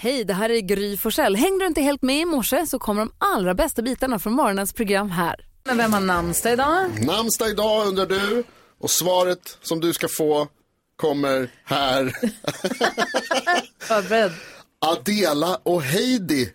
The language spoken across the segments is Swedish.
Hej, det här är Gry Forssell. Hängde du inte helt med i morse så kommer de allra bästa bitarna från morgonens program här. Men vem har namnsdag idag? Namnsdag idag undrar du och svaret som du ska få kommer här. Förberedd. Adela och Heidi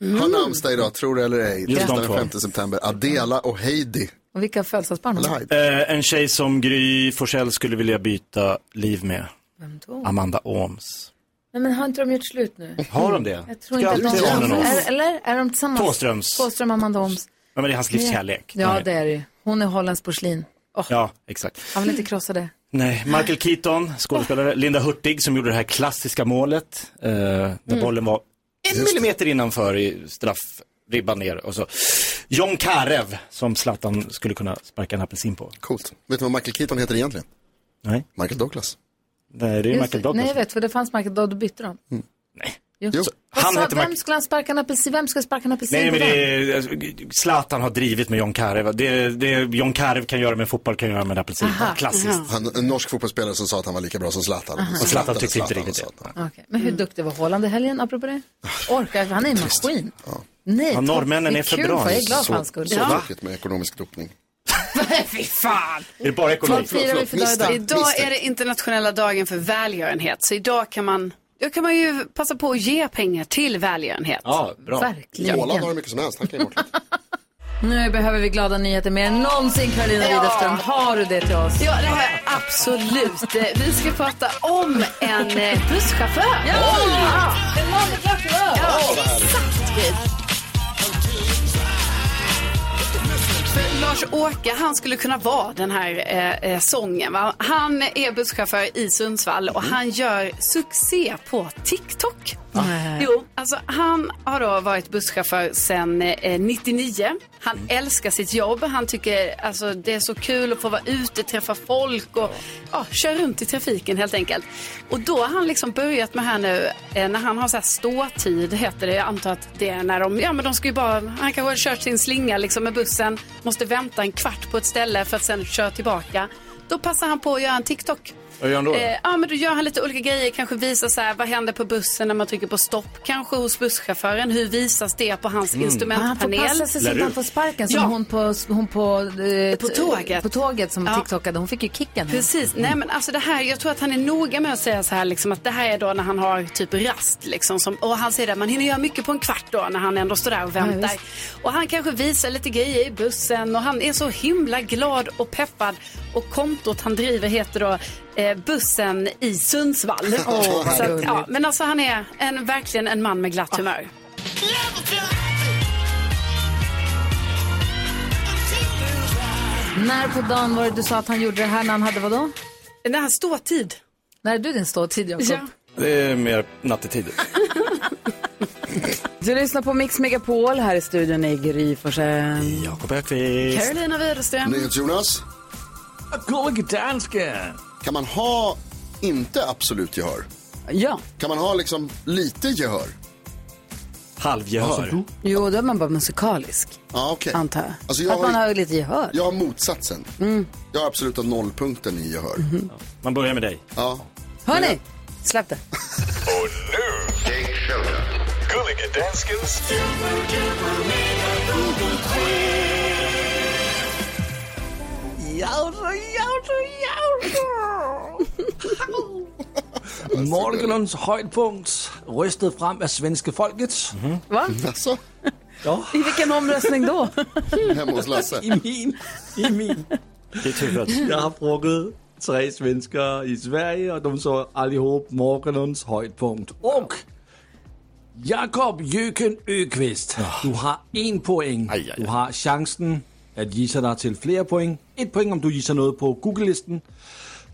har namnsdag idag, tror det eller ej. Just Tisdag de den två. 5 september. Adela och Heidi. Och vilka födelsedagsbarn har Eller du? Heidi. Eh, en tjej som Gry Forssell skulle vilja byta liv med. Vem då? Amanda Ooms. Nej, men har inte de gjort slut nu? Har de det? Jag tror Ska inte att alltid de... ha någon av oss. Är, eller? Är de tillsammans? Thåströms. Thåström, Amanda Holms. Ja, men det är hans livskärlek. Ja, Nej. det är det ju. Hon är Hollands porslin. Åh, Ja, exakt. Han vill inte krossa det. Nej, Michael Keaton, skådespelare. Linda Hurtig som gjorde det här klassiska målet. Eh, där Mm. bollen var en millimeter innanför i straffribban ner. Och så. John Karev som Zlatan skulle kunna sparka en apelsin på. Coolt. Vet du vad Michael Keaton heter egentligen? Nej, Michael Douglas. Nej, det är ju Just det. Michael Douglas. Nej, jag vet, för det fanns Michael Dodd, då bytte de. Nej. Jo. Jo. Vad Han sa, heter vem Michael- skulle han sparka en apelsin? Vem ska sparka en apelsin Nej, på men det den? är, alltså, Zlatan har drivit med John Karev. Det, det John Karev kan göra med fotboll kan göra med en apelsin. Klassiskt. Han, en norsk fotbollsspelare som sa att han var lika bra som Zlatan. Och Zlatan tyckte inte riktigt det. Okej, Men hur duktig var Holland i helgen, apropå det? Orkar, han är en maskin. Nej, Ja, norrmännen topp. Det är för kul bra. för, Jag är glad för Så, hans så skull. Ja. tråkigt med ekonomisk dopning. Fy fan! Är det bara ekonomi? Vad firar vi för dag Misstänkt. idag? Idag är det internationella dagen för välgörenhet. Så idag kan man, då kan man ju passa på att ge pengar till välgörenhet. Ja, bra. Åland har Verkligen. hur mycket som helst. Han kan ju bort. Nu behöver vi glada nyheter mer än någonsin, Karolina Widerström. Har du det till oss? Ja, det här är absolut. Eh, Vi ska prata om en eh, busschaufför. En man med flack röv. Lars-Åke, han skulle kunna vara den här eh, eh, sången. Va? Han är busschaufför i Sundsvall och han gör succé på TikTok. Nej. Jo, alltså han har då varit busschaufför sedan eh, 99. Han älskar sitt jobb. Han tycker alltså det är så kul att få vara ute, träffa folk och ja, köra runt i trafiken helt enkelt. Och då har han liksom börjat med här nu eh, när han har så här ståtid heter det. Jag antar att det är när de, ja men de ska ju bara, han kanske har kört sin slinga liksom med bussen, måste vänta en kvart på ett ställe för att sen köra tillbaka. Då passar han på att göra en TikTok. Vad gör han då? Eh, ja, men då gör han lite olika grejer. Kanske visar så här, vad händer på bussen när man trycker på stopp. Kanske hos busschauffören. Hur visas det på hans Han får instrumentpanel? passa sig så Lär att han ut. får sparken som Ja. hon på, hon på, eh, På tåget. på tåget som Ja. tiktokade. Hon fick ju kicken. Precis. Nej, men alltså det här, jag tror att han är noga med att säga så här, liksom, att det här är då när han har typ rast. Liksom, som, och han säger att man hinner göra mycket på en kvart då när han ändå står där och väntar. visst. och han kanske visar lite grejer i bussen och han är så himla glad och peppad. Och kontot han driver heter då eh, Bussen i Sundsvall. Åh, vad så att, roligt. ja, men alltså han är en, verkligen en man med glatt humör. När på dagen var det du sa att han gjorde det här när han hade vadå? Den här ståtid. När är du din ståtid, Jakob? Det är mer nattetider. Du lyssnar på Mix Megapol. Här i studion är Gry Forssell. Jakob Öqvist. Carolina Widerström. NyhetsJonas, Gullige dansken! kan man ha inte absolut gehör? Ja, Kan man ha liksom lite gehör? Alltså, Halvgehör. jo, då är man bara musikalisk, Ja, okej. antar jag. Alltså, jag att man har- har Mm. lite gehör. Jag har motsatsen. Jag har absoluta nollpunkten i gehör. Mhm. Man börjar med dig. Ja. Hörni, släpp det. Gulliga Danskens Morgonens höjdpunkt, röstad fram av svenska folket. Alltså, I vilken omröstning då? hemma hos Lasse. I min, i min. Ditt huvud. Jag har frågat tre svenskar i Sverige och de sa allihop morgonens höjdpunkt. Och Jakob Jöken Öqvist, du har en poäng. Aj, aj, aj. Du har chansen att gissa dig till fler poäng. Ett poäng om du gissar något på Google-listan.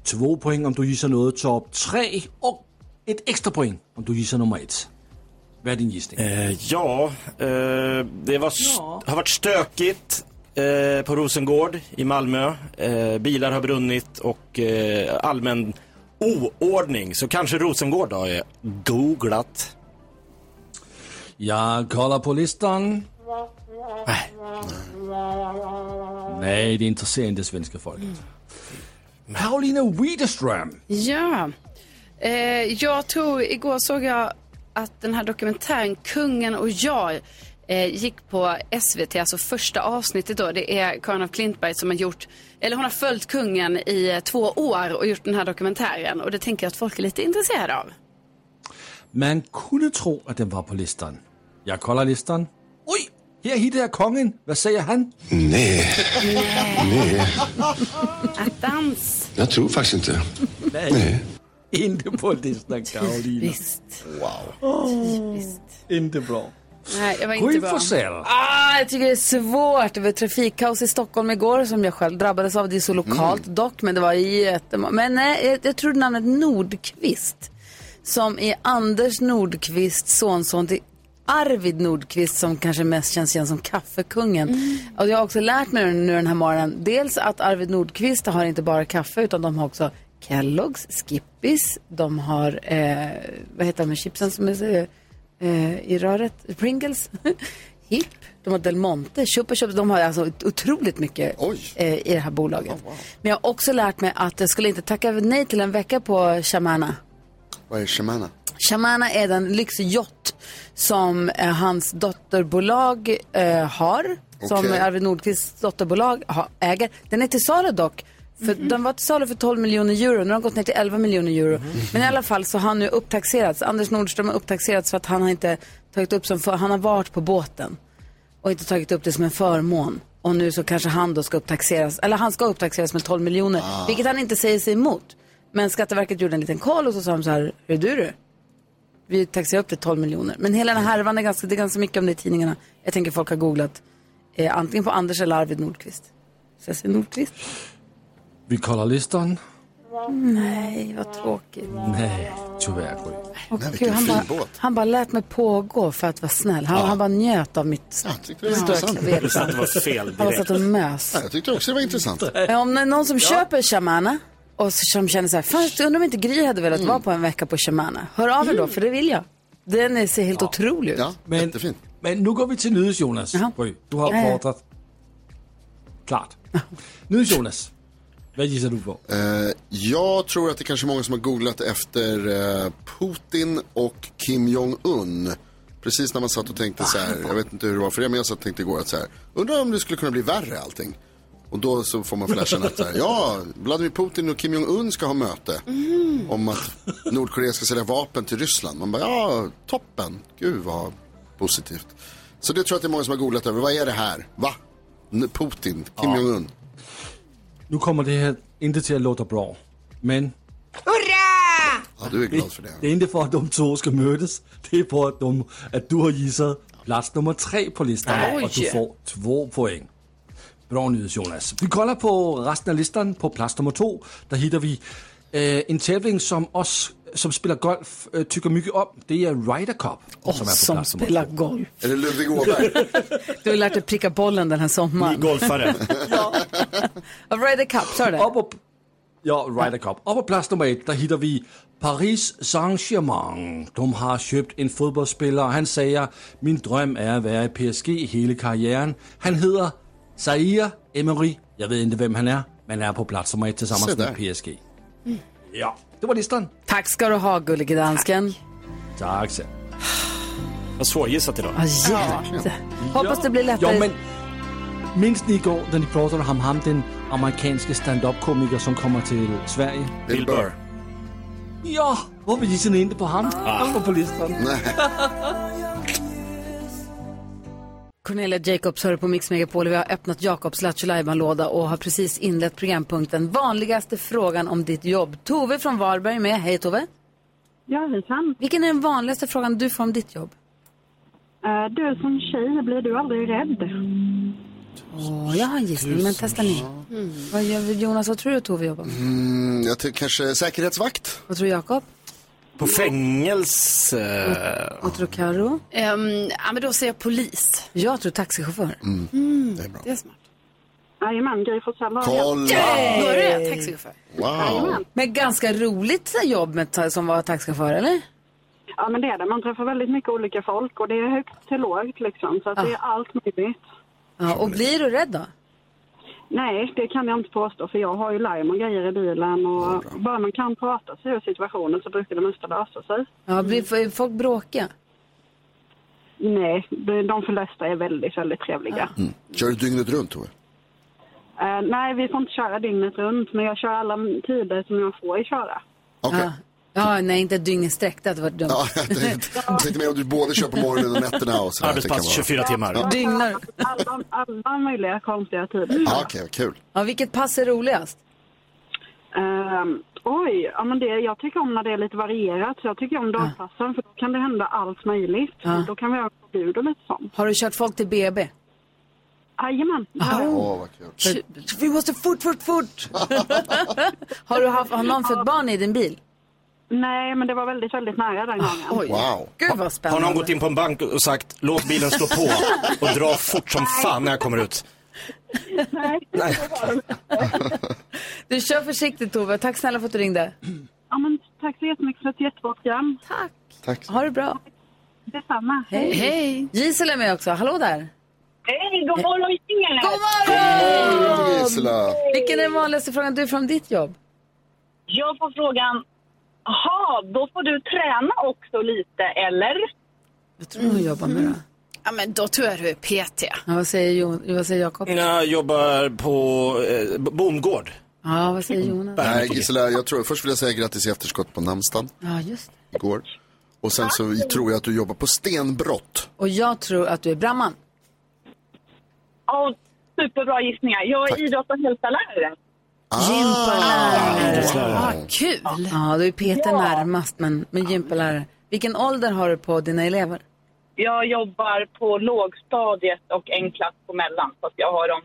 Två poäng om du gissar något topp tre. Och ett extra poäng om du gissar nummer ett. Vad är din gissning? Eh, ja, eh, det var st- har varit stökigt eh, på Rosengård i Malmö. Eh, bilar har brunnit och eh, allmän oordning. Så kanske Rosengård då är googlat. Jag kollar på listan. Nej. Nej, det intresserar inte svenska folket. Paulina Widerström. Ja. Eh, jag tror, igår såg jag att den här dokumentären Kungen och jag eh, gick på SVT, alltså första avsnittet då. Det är Karin af Klintberg som har gjort, eller hon har följt kungen i eh, två år och gjort den här dokumentären. Och det tänker jag att folk är lite intresserade av. Man kunne tro, at den var på listeren. Jeg kolder listeren. Ui, her hitter jeg kongen. Hvad sagde han? Nej, nej, Dans! jag tror faktiskt inte. Nej. Inte på listeren, Karoline. Visst. Inte bra. Nej, jag var inte Gry bra. Forssell. Ah, jag tycker det är svårt. Det var trafikkaos i Stockholm igår som jag själv drabbades av. Det är så lokalt dock, men det var jättemånga. Men nej, jag, jag tror namnet Nordqvist, som är Anders Nordqvists sonson till Arvid Nordqvist som kanske mest känns igen som kaffekungen. Och jag har också lärt mig nu den här morgonen, dels att Arvid Nordqvist har inte bara kaffe utan de har också Kellogg's, Skippis, de har, eh, vad heter de med chipsen som är eh, i röret? Pringles, Hipp, de har Del Monte, Chupa Chups. De har alltså otroligt mycket Oj. eh, i det här bolaget. Men jag har också lärt mig att jag skulle inte tacka nej till en vecka på Shamana. Vad är Shemana? Shamana är den lyxjott som eh, hans dotterbolag eh, har. Som Okej. Arvid Nordqvists dotterbolag ha, äger. Den är till salu dock. För Den var till salu för 12 miljoner euro. Nu har den gått ner till 11 miljoner euro. Men i alla fall så har han nu upptaxerats. Anders Nordström har upptaxerats för att han har inte tagit upp som för, Han har varit på båten och inte tagit upp det som en förmån. Och nu så kanske han då ska upptaxeras, eller han ska upptaxeras med 12 miljoner, vilket han inte säger sig emot. Men Skatteverket gjorde en liten koll och så sa de så här, hur du du? Vi taxerar upp till 12 miljoner. Men hela den här härvan är ganska, det är ganska mycket om det i tidningarna. Jag tänker folk har googlat eh, antingen på Anders eller Arvid Nordqvist. Så jag säger Nordqvist. Vi kolder listeren. Nej, vad tråkigt. Nej, tyvärr, Gry. Nej, Och gud, vilken han, fin bara, båt. han bara lät mig pågå för att vara snäll. Han, han bara njöt av mitt Jag tyckte det var intressant. strökvel. Så att det var fel Alltså, Han bara direkt. satt och mös. Jag tyckte också det var intressant. Men om det är någon som köper Shamana och så- som känner så här, fan jag undrar om inte Gry hade velat Mm. vara på en vecka på Shamana. Hör av er då, för det vill jag. Den är- ser helt otrolig ut. Ja, Men, jättefint. men nu går vi til nydes, Jonas. Jaha. Gry, du har opfordret. Klart. Nydes, Jonas. Hvad gisser du på? Eh, jag tror att det kanske är många som har googlat efter eh, Putin och Kim Jong-Un. Precis när man satt och tänkte så här, jag vet inte hur det var för er, men jag satt och tänkte igår att så här, undrar om det skulle kunna bli värre allting. Och då så får man flashen att så här, ja, Vladimir Putin och Kim Jong-Un ska ha möte om att Nordkorea ska sälja vapen till Ryssland. Man bara, ja, toppen, gud vad positivt. Så det tror jag att det är många som har googlat över, vad är det här? Va? N- Putin, Kim Jong-Un. Nu kommer det her ikke til at låte bra. Men Ja, du är glad för det. Det er ikke for, at de to skal mødes. Det er for, at, de, at du har gisset plads nummer tre på listen, Oj. og du får to point. Bra nyhed, Jonas. Vi kolder på resten af listen på plads nummer to. Der hitter vi øh, en tävling, som os, som spiller golf, øh, tykker mycket om. Det er Ryder Cup, oh, som er på Som plads nummer spelar golf. Är det Ludvig Åberg? Du har lärt dig pricka bollen den här Ni sommaren. golfare. Av Ryder Cup, sa du det? Op og, ja, Ryder Cup. Op på plads nummer et, der hitter vi Paris Saint-Germain. De har købt en fodboldspiller, og han sagde, min drøm er at være i PSG hele karrieren. Han hedder Zaire Emery. Jeg ved ikke, hvem han er, men er på plads nummer et Se tillsammans med der. PSG. Ja, det var listen. Tack ska du ha, gullige dansken. Tak selv. Vad svårgissat idag. Ja, jätte. Hoppas det blir Jo, lättare. men minst ni i går, da de pratede ham, ham den amerikanske stand-up-komiker, som kommer til Sverige? Bill Burr. Ja, hvorfor er de sådan inte på ham? Han var på listen. Cornelia Jacobs hör på Mix Megapol. Vi har öppnat Jakobs Lattjo låda och har precis inlett programpunkten Vanligaste frågan om ditt jobb. Tove från Varberg är med. Hej Tove. Ja, hejsan. Vilken är den vanligaste frågan du får om ditt jobb? Eh, Du som tjej, blir du aldrig rädd? Åh, jag har en gissning, men testa ni. Mm. Vad gör vi- Jonas, vad tror du Tove jobbar med? Mm, jag tycker kanske säkerhetsvakt. Vad tror Jakob? På fängelse. Vad tror Karo? Ehm, ja, men då säger jag polis. Jag tror taxichaufför. Det är smart. Jajamän, Gry Forssell var jag. Kolla! Då är det det, taxichaufför. Wow! Men ganska roligt så här jobb med, ta- som var taxichaufför, eller? Ja, men det är det. Man träffar väldigt mycket olika folk och det är högt till lågt liksom. Så att det är allt möjligt. Ja, och blir du rädd då? Nej, det kan jag inte påstå för jag har ju larm och grejer i bilen och bara man kan prata sig ur situationen så brukar det mesta lösa sig. Ja, blir f- folk bråkiga? Nej, de de flesta är väldigt, väldigt trevliga. Kör du dygnet runt Tove? Eh, nej, vi får inte köra dygnet runt men jag kör alla tider som jag får köra. Okej. Ja, nej, inte ett dygn i sträck. Det hade varit dumt. Ja, jag tänkte, jag tänkte mer om du både kör på morgonen och nätterna och sådär. att det kan Arbetspass vara- 24 timmar. Dygnar. Alla, alla möjliga konstiga tider. Ja, okej, vad kul. Ja, vilket pass är roligast? Ehm, oj, ja, men det, jag tycker om när det är lite varierat. Så jag tycker om dagpassen för då kan det hända allt möjligt. Då kan vi ha förbud och lite sånt. Har du kört folk till BB? Jajamän. Ja. Åh, vad kul. Vi måste fort, fort, fort! har, du haft, har någon fött barn i din bil? Nej, men det var väldigt, väldigt nära den gången. Oj. Wow. Gud vad Har spännande. någon gått in på en bank och sagt låt bilen stå på och dra fort som fan när jag kommer ut? Nej. Nej. Du kör försiktigt Tove. Tack snälla för att du ringde. Ja, men, tack så jättemycket för ett jättebra program. Tack. Ha det bra. Detsamma. Hej! Gisela är med också. Hallå där. Hej, god morgon gänget! God morgon! Hej, Gisela. Vilken är den vanligaste frågan du från ditt jobb? Jag får frågan, jaha, då får du träna också lite, eller? Vad tror du hon jobbar med då? Ja, men då tror jag du är PT. Ja, vad säger, jo, vad säger Jakob? Jag jobbar på eh, b- bondgård. Ja, vad säger Jonas? Nej, Gisela, jag tror, först vill jag säga grattis i efterskott på namnsdagen Ja, just det. igår. Och sen så tror jag att du jobbar på stenbrott. Och jag tror att du är bramman. Ja, superbra gissningar. Jag är idrotts och hälsalärare. Ah. Gympalärare. Ah, kul! Ja, då är Peter närmast, men, men gympalärare. Vilken ålder har du på dina elever? Jag jobbar på lågstadiet och en klass på mellan, så att jag har de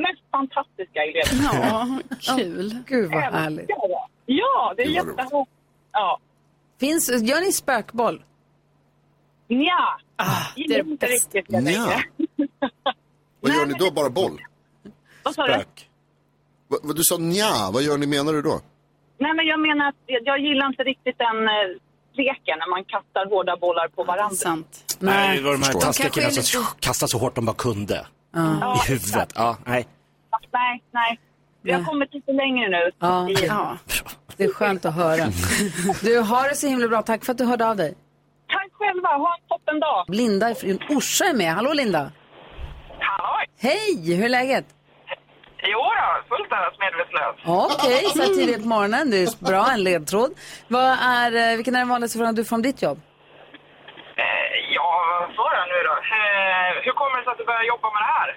mest fantastiska eleverna. Ja, kul. Gud, vad härligt. Ja, det är Det var roligt. jättehärligt. Ja. Finns, gör ni spökboll? Nja, Det är det inte bästa. riktigt jag Nja. tänkte. Vad gör ni då? Bara boll? Vad sa du? Spök. Va- vad- Du sa nja, vad gör ni menar du då? Nej, men jag menar att jag jag gillar inte riktigt den eh, leken när man kastar hårda bollar på varandra. Sant. Nej, det var de här Förstår. taskiga Kanske är killarna som kastade så hårt de bara kunde. Ja, I huvudet. Ja, nej. Nej, nej. Vi har kommit lite längre nu. Ja. I- Ja. Det är skönt att höra. Du, har det så himla bra. Tack för att du hörde av dig. Tack själva, ha en toppen dag. Linda från Orsa är med. Hallå, Linda. Halloj! Hej, hur är läget? Jo då, fullt annars medvetslös. Okej, så här tidigt på morgonen. Det är bra, en ledtråd. Vad är, eh, vilken är den vanligaste frågan du får om ditt jobb? Eh, ja, vad sa jag nu då? Eh, hur kommer det sig att du började jobba med det här?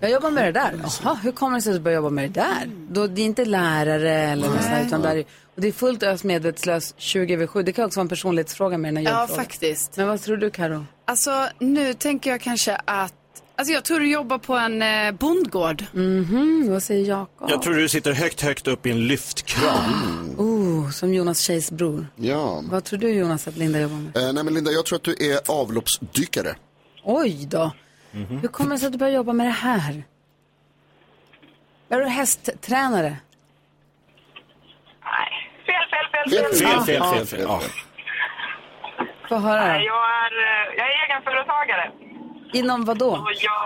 Jag jobbar med det där. Jaha, hur kommer det sig att du börjar jobba med det där? Då, det är inte lärare eller något sånt där, utan där, är- och det är fullt ös medvetslös 20 över 7. Det kan också vara en personlighetsfråga med den här ja, jobbfrågan. faktiskt. Men vad tror du, Karo? Alltså nu tänker jag kanske att Alltså jag tror du jobbar på en eh, bondgård. Mm, vad säger Jakob? Jag tror du sitter högt, högt upp i en lyftkran. Oh, som Jonas tjejs bror. Ja. Vad tror du, Jonas, att Linda jobbar med? Eh, nej men Linda, jag tror att du är avloppsdykare. Oj då. Mhm. Hur kommer det sig att du börjar jobba med det här? Är du hästtränare? Nej, fel, fel, fel. Fel, fel, fel, fel. Ja. Få höra. då. Jag är, eh, jag är egenföretagare Inom vad då? jag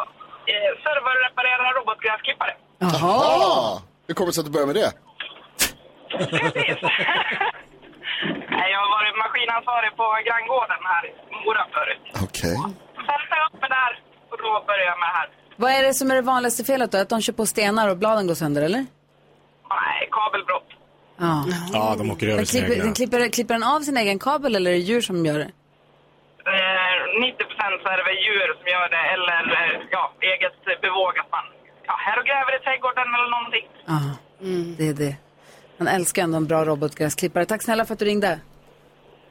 eh, servar och reparerar robotgräsklippare. Jaha. Ah, hur kommer det sig att du börjar med det? Precis. Nej, jag har varit maskinansvarig på granngården här i Mora förut. Okej. Sen sa jag upp mig där och då började jag med det här. Vad är det som är det vanligaste felet då? Att de kör på stenar och bladen går sönder, eller? Nej, kabelbrott. Ja. ja, de åker över Men sina klipper, egna. den klipper, klipper den av sin egen kabel eller är det djur som gör det? Eh, 90 procent så är det väl djur som gör det eller eh, ja, eget eh, bevåg att man ja, här och gräver i trädgården eller någonting. Ja, det är det. Man älskar ändå en bra robotgräsklippare. Tack snälla för att du ringde.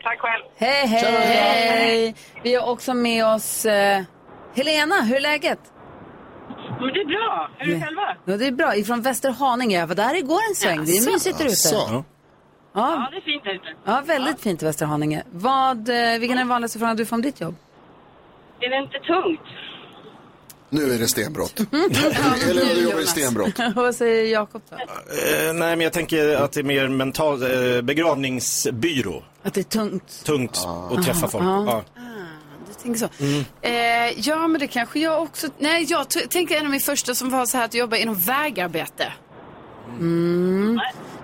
Tack själv. Hej, hej! hej. Vi har också med oss eh, Helena. Hur är läget? Men det är bra. Är du själva? Ja, det är bra. Ifrån Västerhaninge. Jag var där igår en sväng. Det är mysigt där ute. Så. Ja, det är fint ute. ja, väldigt fint i Västerhaninge. Vad, eh, vilken är den vanligaste frågan du får om ditt jobb? Är det inte tungt? Nu är det stenbrott. Eller om du jobbar i Jonas. stenbrott. Vad säger Jakob då? Eh, nej, men jag tänker att det är mer mental eh, begravningsbyrå. Att det är tungt. Ah. Tungt att träffa folk. Ja. tänker så. Eh, ja, men det kanske jag också... Nej, jag t- tänker en av min första som var så här att jobba inom vägarbete.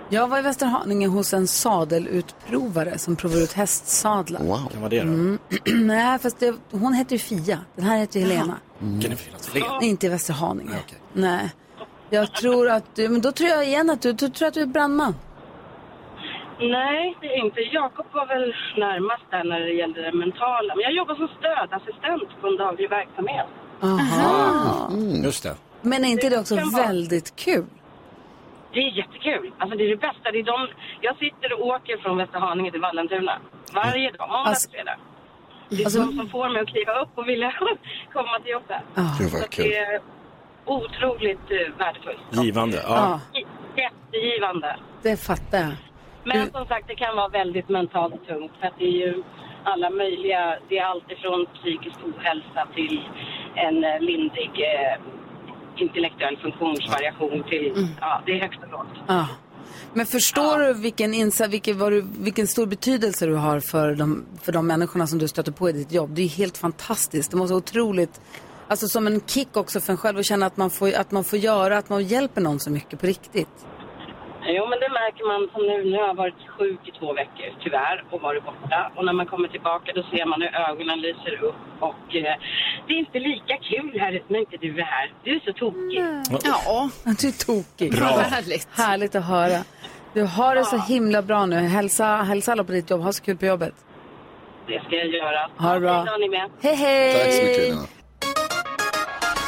Jag var i Västerhaninge hos en sadelutprovare som provar ut hästsadlar. Wow. Kan vara det då? Mm. Nej, fast det, hon heter ju Fia. Den här heter ju Helena. Kan det finnas fler? Nej, inte i Västerhaninge. Nej, Jag tror att du, men då tror jag igen att du, du tror att du är brandman. Nej, det är inte. Jakob var väl närmast där när det gällde det mentala. Men jag jobbar som stödassistent på en daglig verksamhet. Aha. Just det. Men är inte det också Det kan vara. väldigt kul? Det är jättekul. Alltså det är det bästa. Det är de... Jag sitter och åker från Västerhaninge till Vallentuna varje dag, måndag Alltså- till fredag. Det är Alltså- de som får mig att kliva upp och vilja komma till jobbet. Ja. Gud Så vad att det kul. är otroligt eh, värdefullt. Givande. Ja. Ja, Jättegivande. det fattar jag. Men som sagt, det kan vara väldigt mentalt tungt för att det är ju alla möjliga, det är allt ifrån psykisk ohälsa till en eh, lindrig eh, intellektuell funktionsvariation till, ja, det är högt och lågt. Ja. Men förstår du vilken, insa, vilken, vad du vilken stor betydelse du har för de, för de människorna som du stöter på i ditt jobb? Det är ju helt fantastiskt. Det måste vara otroligt, alltså som en kick också för en själv att känna att man får, att man får göra, att man hjälper någon så mycket på riktigt. Jo, men det märker man som nu, nu har jag varit sjuk i två veckor, tyvärr, och varit borta. Och när man kommer tillbaka då ser man hur ögonen lyser upp och eh, det är inte lika kul här när inte du är här. Du är så tokig. Ja, Du är tokig. vad härligt. Härligt att höra. Du har det så himla bra nu. Hälsa, hälsa alla på ditt jobb. Ha så kul på jobbet. Det ska jag göra. Ha det bra. Hej då, ni med. Hej, hej! Tack så mycket Lina.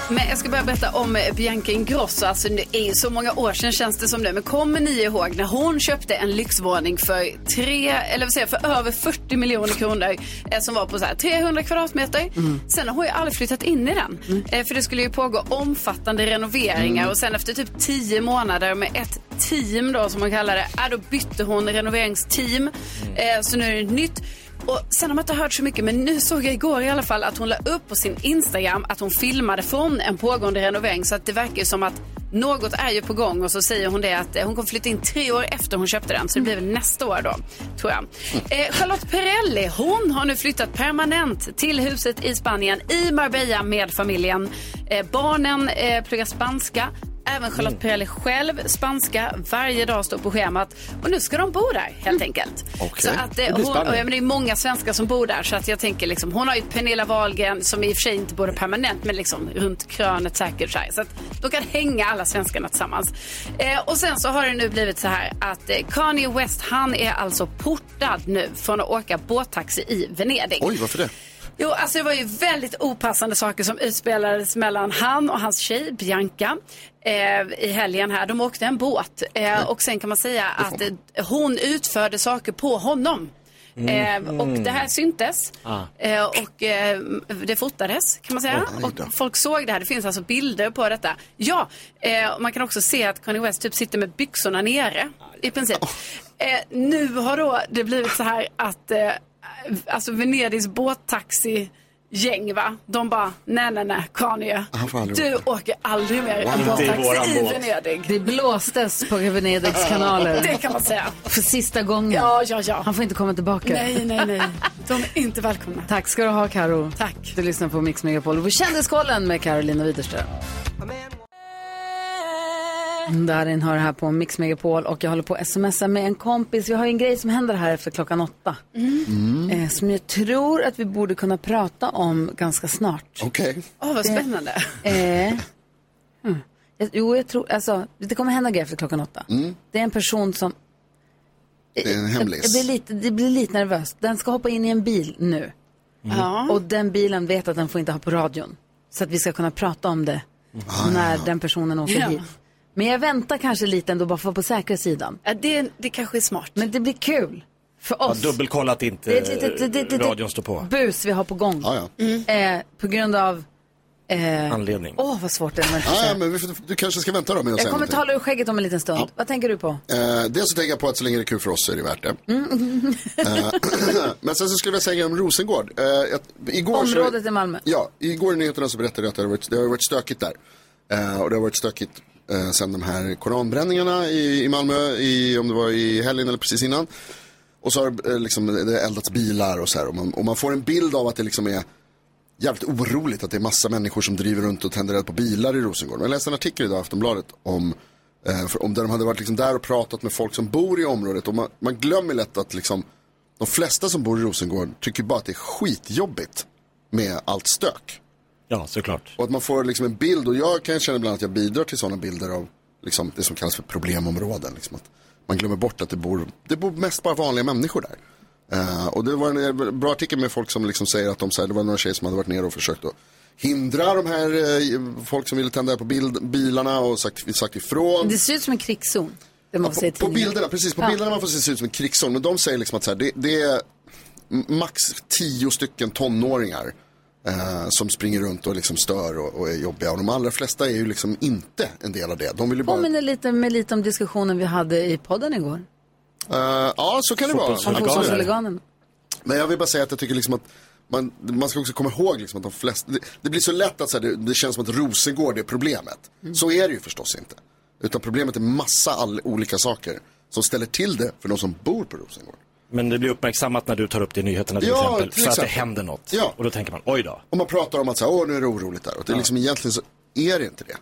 Men jag ska börja berätta om eh, Bianca Ingrosso. Alltså, det är ju så många år sedan känns det som nu. Men kommer ni ihåg när hon köpte en lyxvåning för, tre, eller vad säger, jag, för över 40 miljoner kronor eh, som var på så här 300 kvadratmeter. Sen har hon ju aldrig flyttat in i den. Eh, för det skulle ju pågå omfattande renoveringar och sen efter typ 10 månader med ett team då som hon kallar det, eh, då bytte hon renoveringsteam. Eh, så nu är det ett nytt. Och sen har man inte hört så mycket, men nu såg jag igår i alla fall att hon la upp på sin Instagram att hon filmade från en pågående renovering. Så att det verkar ju som att något är ju på gång och så säger hon det att eh, hon kommer flytta in tre år efter hon köpte den. Så det blir väl nästa år då, tror jag. Eh, Charlotte Perrelli, hon har nu flyttat permanent till huset i Spanien, i Marbella med familjen. Eh, barnen eh, pluggar spanska. Även Charlotte Perrelli själv, spanska, varje dag står på schemat. Och nu ska de bo där helt enkelt. Okej. Så att, eh, Mm. Det blir hon, spännande. och, jag men det är många svenskar som bor där så att jag tänker liksom, hon har ju Pernilla Wahlgren som i och för sig inte bor där permanent men liksom runt krönet säkert så, här, så att de kan hänga alla svenskarna tillsammans. Eh, och sen så har det nu blivit så här att eh, Kanye West han är alltså portad nu från att åka båttaxi i Venedig. Oj, varför det? Jo, alltså det var ju väldigt opassande saker som utspelades mellan han och hans tjej Bianca eh, i helgen här. De åkte en båt eh, och sen kan man säga att eh, hon utförde saker på honom. Eh, och det här syntes eh, och eh, det fotades kan man säga. Oj, oj då. Och folk såg det här. Det finns alltså bilder på detta. Ja, eh, och man kan också se att Kanye West typ sitter med byxorna nere i princip. Oh. Eh, nu har då det blivit så här att eh, alltså Venedigs båttaxi gäng va, de bara nej nej nej Kanye, Han får aldrig du åker aldrig mer en Inte i våran båttaxi i båt. Venedig. Det blåstes på Venedigs kanaler Det kan man säga. för sista gången. Ja, ja, ja. Han får inte komma tillbaka. Nej, nej, nej. De är inte välkomna. Tack ska du ha, Karo. Tack. Du lyssnar på Mix Megapol på Kändiskollen med Carolina Widerström. Darin hör här på Mix Megapol och jag håller på att smsa med en kompis. Vi har ju en grej som händer här efter klockan åtta. Mm. Eh, som jag tror att vi borde kunna prata om ganska snart. Okej. Åh, vad spännande. Eh, mm. Jag- Jo, jag tror, alltså, det kommer hända grejer efter klockan åtta. Det är en person som... Det är en Jag blir hemlis. lite, det blir lite nervöst. Den ska hoppa in i en bil nu. Ja. Mm. Och den bilen vet att den får inte ha på radion. Så att vi ska kunna prata om det när den personen åker Ja. hit. Men jag väntar kanske lite ändå bara för att vara på säkra sidan. Ja, det, det kanske är smart. Men det blir kul för Ja, oss. dubbelkolla att inte det är ett litet det- det- det- radion står på. bus vi har på gång. Ja, ja. Eh, på grund av... Åh, eh, Anledning. åh, vad svårt det är. när man inte Ah, ja, säger. men vi får, du kanske ska vänta då med att Jag säga kommer någonting. tala ur skägget om en liten stund. Vad tänker du på? Eh, dels så tänker jag på att så länge det är kul för oss så är det värt det. Eh, men sen så skulle jag vilja säga en grej om Rosengård. Eh, att, igår Området så, i Malmö. Ja, igår i nyheterna så berättade jag att det har varit, det har varit stökigt där. Eh, och det har varit stökigt eh, sen de här koranbränningarna i, i Malmö, i, om det var i helgen eller precis innan. Och så har eh, liksom, det eldats bilar och så här. Och man, och man får en bild av att det liksom är jävligt oroligt att det är massa människor som driver runt och tänder eld på bilar i Rosengård. Jag läste en artikel idag i Aftonbladet om, eh, för, om där de hade varit liksom där och pratat med folk som bor i området och man, man glömmer lätt att liksom, de flesta som bor i Rosengård tycker bara att det är skitjobbigt med allt stök. Ja, såklart. Och att man får liksom en bild och jag kan känna ibland att jag bidrar till sådana bilder av liksom, det som kallas för problemområden. Liksom, att man glömmer bort att det bor, det bor mest bara vanliga människor där. Eh, och det var en bra artikel med folk som liksom säger att de, så här, det var några tjejer som hade varit nere och försökt att hindra de här eh, folk som ville tända eld på bild, bilarna och sagt, sagt ifrån. Det ser ut som en krigszon. Det man får se i På, på tidningen. bilderna, precis. På bilderna man får se ut som en krigszon. Men de säger liksom att så här, det, det är m- max tio stycken tonåringar eh, som springer runt och liksom stör och, och är jobbiga. Och de allra flesta är ju liksom inte en del av det. De vill ju bara... Påminner lite, med lite om diskussionen vi hade i podden igår. Eh, ja, så kan det vara. Fotbolls- Absolut. Fotbollshuliganen. liksom Men jag vill bara säga att jag tycker liksom att man, man ska också komma ihåg liksom att de flesta, det, det blir så lätt att så här, det, det känns som att Rosengård är problemet. Mm. Så är det ju förstås inte. Utan problemet är massa all, olika saker som ställer till det för de som bor på Rosengård. Men det blir uppmärksammat när du tar upp det i nyheterna till Ja, exempel. till för att det exempel. händer något. Ja. Och då tänker man, oj då. Och man pratar om att så här, Åh, nu är det oroligt där. Och det är liksom, egentligen så är det inte det.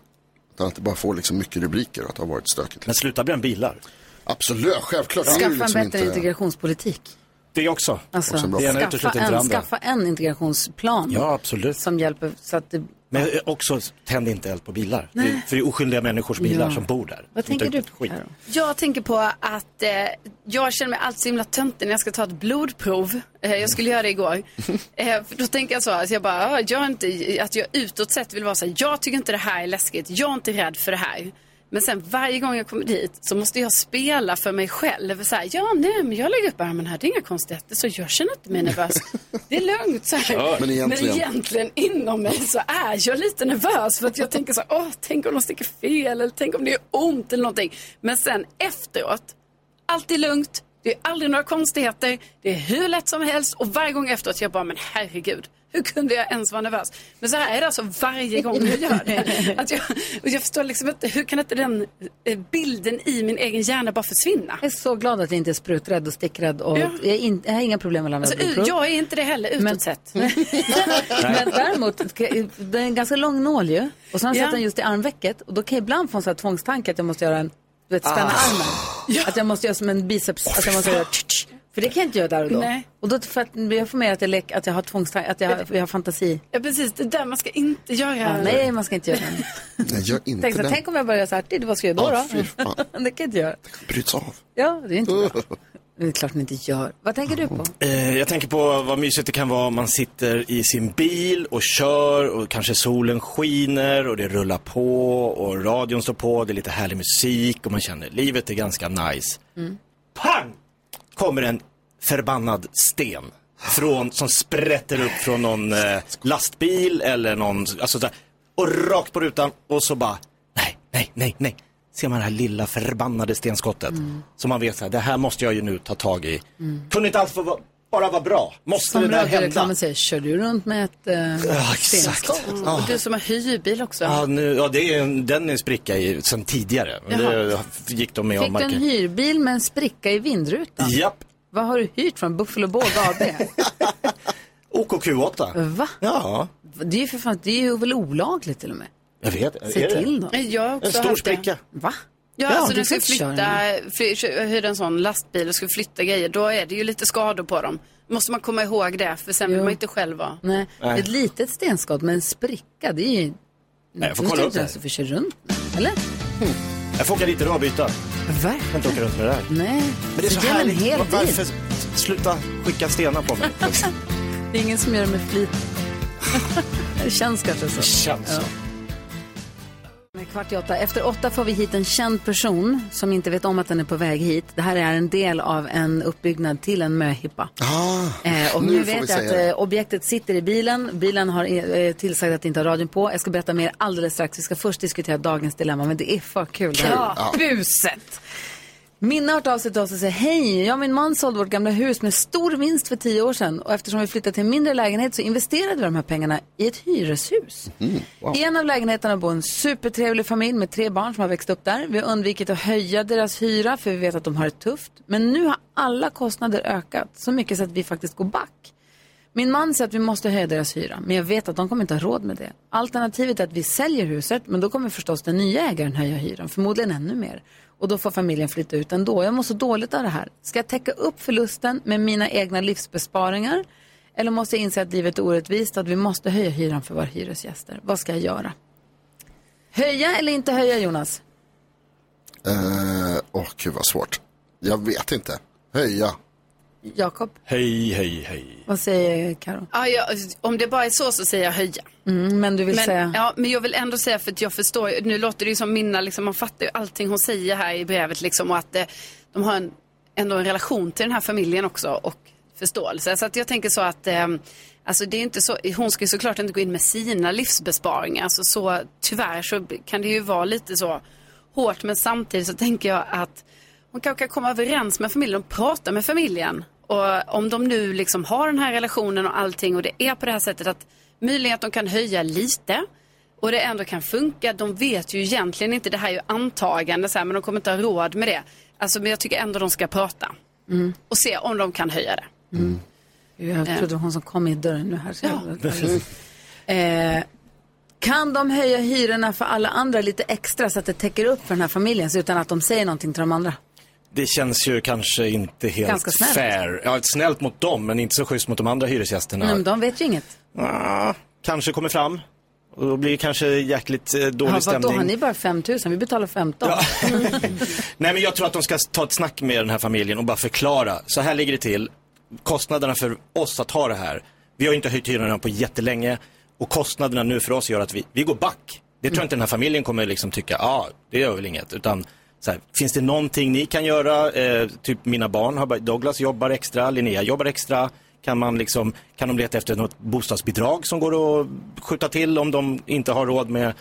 Utan att det bara får liksom mycket rubriker och att det har varit stökigt. Men sluta bränna bilar. Absolut, självklart. Det är ju Skaffa en liksom bättre integrationspolitik. Det också. Alltså, Också en bra Det ena fråga. skaffa, utesluter inte det en, andra. skaffa en integrationsplan Ja, absolut. som hjälper så att det Men eh, också, tänd inte eld på bilar. Det är, för det är oskyldiga människors bilar Ja. som bor där. Vad Som tänker inte- du på? skit. Karo? Jag tänker på att eh, jag känner mig alltid så himla töntig när jag ska ta ett blodprov. Eh, jag skulle göra det igår. Eh, för då tänker jag så, alltså jag bara, "Ah, jag är inte, att jag utåt sett vill vara så här, jag tycker inte det här är läskigt, jag är inte rädd för det här. Men sen varje gång jag kommer dit så måste jag spela för mig själv. Så här, ja, nej, men jag lägger upp armen här, det är inga konstigheter, så jag känner inte mig nervös. Det är lugnt. Så här. men egentligen. Men egentligen inom mig så är jag lite nervös för att jag tänker så här, åh, tänk om de sticker fel eller tänk om det är ont eller någonting. Men sen efteråt, allt är lugnt, det är aldrig några konstigheter, det är hur lätt som helst och varje gång efteråt jag bara, men herregud, hur kunde jag ens vara nervös? Men så här är det alltså varje gång jag gör det. Att jag, och jag förstår liksom inte, hur kan inte den eh, bilden i min egen hjärna bara försvinna? Jag är så glad att jag inte är spruträdd och stickrädd. Och Ja. jag, är in, jag har inga problem med att lämna Alltså, blodprov. u- jag är inte det heller utåt Men- sett. Men däremot, det är en ganska lång nål ju. Och så har jag Ja. satt den just i armvecket. Och då kan jag ibland få en sån här tvångstanke att jag måste göra en, du vet, spänna armen. Att jag måste göra som en biceps, att jag måste göra tsch, tsch. För det kan jag inte göra där och då. Nej. Och då för att, jag får med att jag, lek, att jag har tvångstanke, att jag, jag har fantasi. Ja, precis, det där man ska inte göra. Nej, man ska inte göra det. Nej, gör inte Tänk, så, det. tänk om jag börjar så här, "Det, vad ska jag göra Ja, då? fy fan. då? det kan jag inte göra. Bryts av. Ja, det är inte bra. Det är klart ni inte gör. Vad tänker du på? Eh, jag tänker på vad mysigt det kan vara om man sitter i sin bil och kör och kanske solen skiner och det rullar på och radion står på, det är lite härlig musik och man känner livet är ganska nice. Pang! Kommer en förbannad sten. Från, som sprätter upp från någon eh, lastbil eller någon, alltså så här, Och rakt på rutan och så bara, nej, nej, nej, nej. Ser man det här lilla förbannade stenskottet. Mm. Som man vet så här, det här måste jag ju nu ta tag i. Kunde inte allt få vara, bara vara bra? Måste det Som där hända? radioreklamen säger, kör du runt med ett eh, Ja, exakt. stenskott? Och du som har hyrbil också. Ja, nu, ja det är, en- den är en spricka i, sen tidigare. Men Det gick de med Fick om. du en hyrbil med en spricka i vindrutan? Japp. Vad har du hyrt från Buffalo Båg AB? OKQ8. Va? Ja, Det är ju för fan, det är ju väl olagligt till och med. jag vet. Se Är det? till då. Nej, Jag har också En stor haft det. spricka. Va? Ja, Ja, alltså du när du ska får inte köra flytta, fly- hyra en sån lastbil och ska flytta grejer, då är det ju lite skador på dem. Måste man komma ihåg det, för sen vill man inte själv vara. Nej. Ett litet stenskott med en spricka, det är ju... Nej, jag får Du kolla ska upp inte det. ens få köra runt med, eller? Jag får åka dit idag och byta. Verkligen. Jag kan inte åka runt med det här. Nej. Men det är så Ge mig en härligt. hel Var- bil. Varför sluta skicka stenar på mig? Det är ingen som gör det med flit. det känns kanske så. Det känns så. Med Kvart i åtta. Efter åtta får vi hit en känd person som inte vet om att den är på väg hit. Det här är en del av en uppbyggnad till en möhippa. Ah, Eh, och nu nu får vi vet jag säga att det. eh, objektet sitter i bilen. Bilen har eh, tillsagt att inte ha radion på. Jag ska berätta mer alldeles strax. Vi ska först diskutera dagens dilemma, men det är för kul. det här. buset! Minna har hört av sig till oss och säger hej, jag och min man sålde vårt gamla hus med stor vinst för tio år sedan och eftersom vi flyttade till en mindre lägenhet så investerade vi de här pengarna i ett hyreshus. I en av lägenheterna bor en supertrevlig familj med tre barn som har växt upp där. Vi har undvikit att höja deras hyra för vi vet att de har det tufft. Men nu har alla kostnader ökat så mycket så att vi faktiskt går back. Min man säger att vi måste höja deras hyra, men jag vet att de kommer inte ha råd med det. Alternativet är att vi säljer huset, men då kommer förstås den nya ägaren höja hyran, förmodligen ännu mer. Och då får familjen flytta ut ändå. Jag mår så dåligt av det här. Ska jag täcka upp förlusten med mina egna livsbesparingar? Eller måste jag inse att livet är orättvist, att vi måste höja hyran för våra hyresgäster? Vad ska jag göra? Höja eller inte höja, Jonas? Eh, Åh, gud vad svårt. Jag vet inte. Höja. Jakob, Hej, hej, hej. vad säger Karo? Ja, jag, om det bara är så så säger jag höja. Mm, men du vill säga? Men, ja, men jag vill ändå säga för att jag förstår, ju- nu låter det ju som Minna, liksom, man fattar ju allting hon säger här i brevet liksom och att eh, de har en, ändå en relation till den här familjen också och förståelse. Så att jag tänker så att eh, Alltså det är inte så, hon ska ju såklart inte gå in med sina livsbesparingar. Alltså så, tyvärr så kan det ju vara lite så hårt. Men samtidigt så tänker jag att hon kanske kan komma överens med familjen och prata med familjen. Och om de nu liksom har den här relationen och allting och det är på det här sättet att möjligen att de kan höja lite och det ändå kan funka. De vet ju egentligen inte, det här är ju antagande så här, men de kommer inte ha råd med det. Alltså, men jag tycker ändå de ska prata och se om de kan höja det. Jag trodde det var hon som kom i dörren nu här. Så ja. eh, kan de höja hyrorna för alla andra lite extra så att det täcker upp för den här familjen så utan att de säger någonting till de andra? Det känns ju kanske inte helt Ganska snällt. fair. Ja, snällt mot dem, men inte så schysst mot de andra hyresgästerna. Nej, men Mm, de vet ju inget. Ah, kanske kommer fram. Och då blir det kanske jäkligt eh, dålig Ja, vadå, stämning. har ni bara 5 000? Vi betalar Mm, 15. Nej, men jag tror att de ska ta ett snack med den här familjen och bara förklara. Så här ligger det till. Kostnaderna för oss att ha det här. Vi har ju inte höjt hyrorna på jättelänge. Och kostnaderna nu för oss gör att vi, vi går back. Det tror jag inte den här familjen kommer liksom tycka, ja, ah, det gör väl inget. Utan så här, finns det någonting ni kan göra? Eh, typ mina barn, har, bör- Douglas jobbar extra, Linnea jobbar extra. Kan, man liksom, kan de leta efter något bostadsbidrag som går att skjuta till om de inte har råd med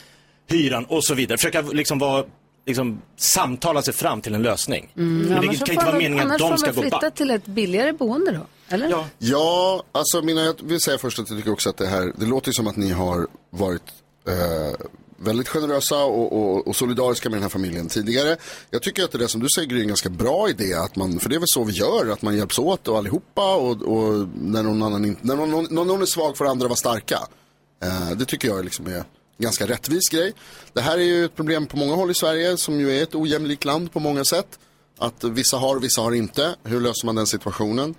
hyran och så vidare. Försöka liksom vara, liksom, samtala sig fram till en lösning. Men det Annars kan får inte vara de- meningen att annars de får ska de gå flytta back. till ett billigare boende då? Eller? Ja. Ja, alltså mina, jag vill säga först att jag tycker också att det här, det låter ju som att ni har varit eh, väldigt generösa och, och, och solidariska med den här familjen tidigare. Jag tycker att det där som du säger Gry, är en ganska bra idé, att man, för det är väl så vi gör, att man hjälps åt och allihopa och, och när, någon annan, inte- när någon, någon, någon är svag får andra vara starka. Eh, det tycker jag liksom är en ganska rättvis grej. Det här är ju ett problem på många håll i Sverige som ju är ett ojämlikt land på många sätt. Att vissa har, vissa har inte. Hur löser man den situationen?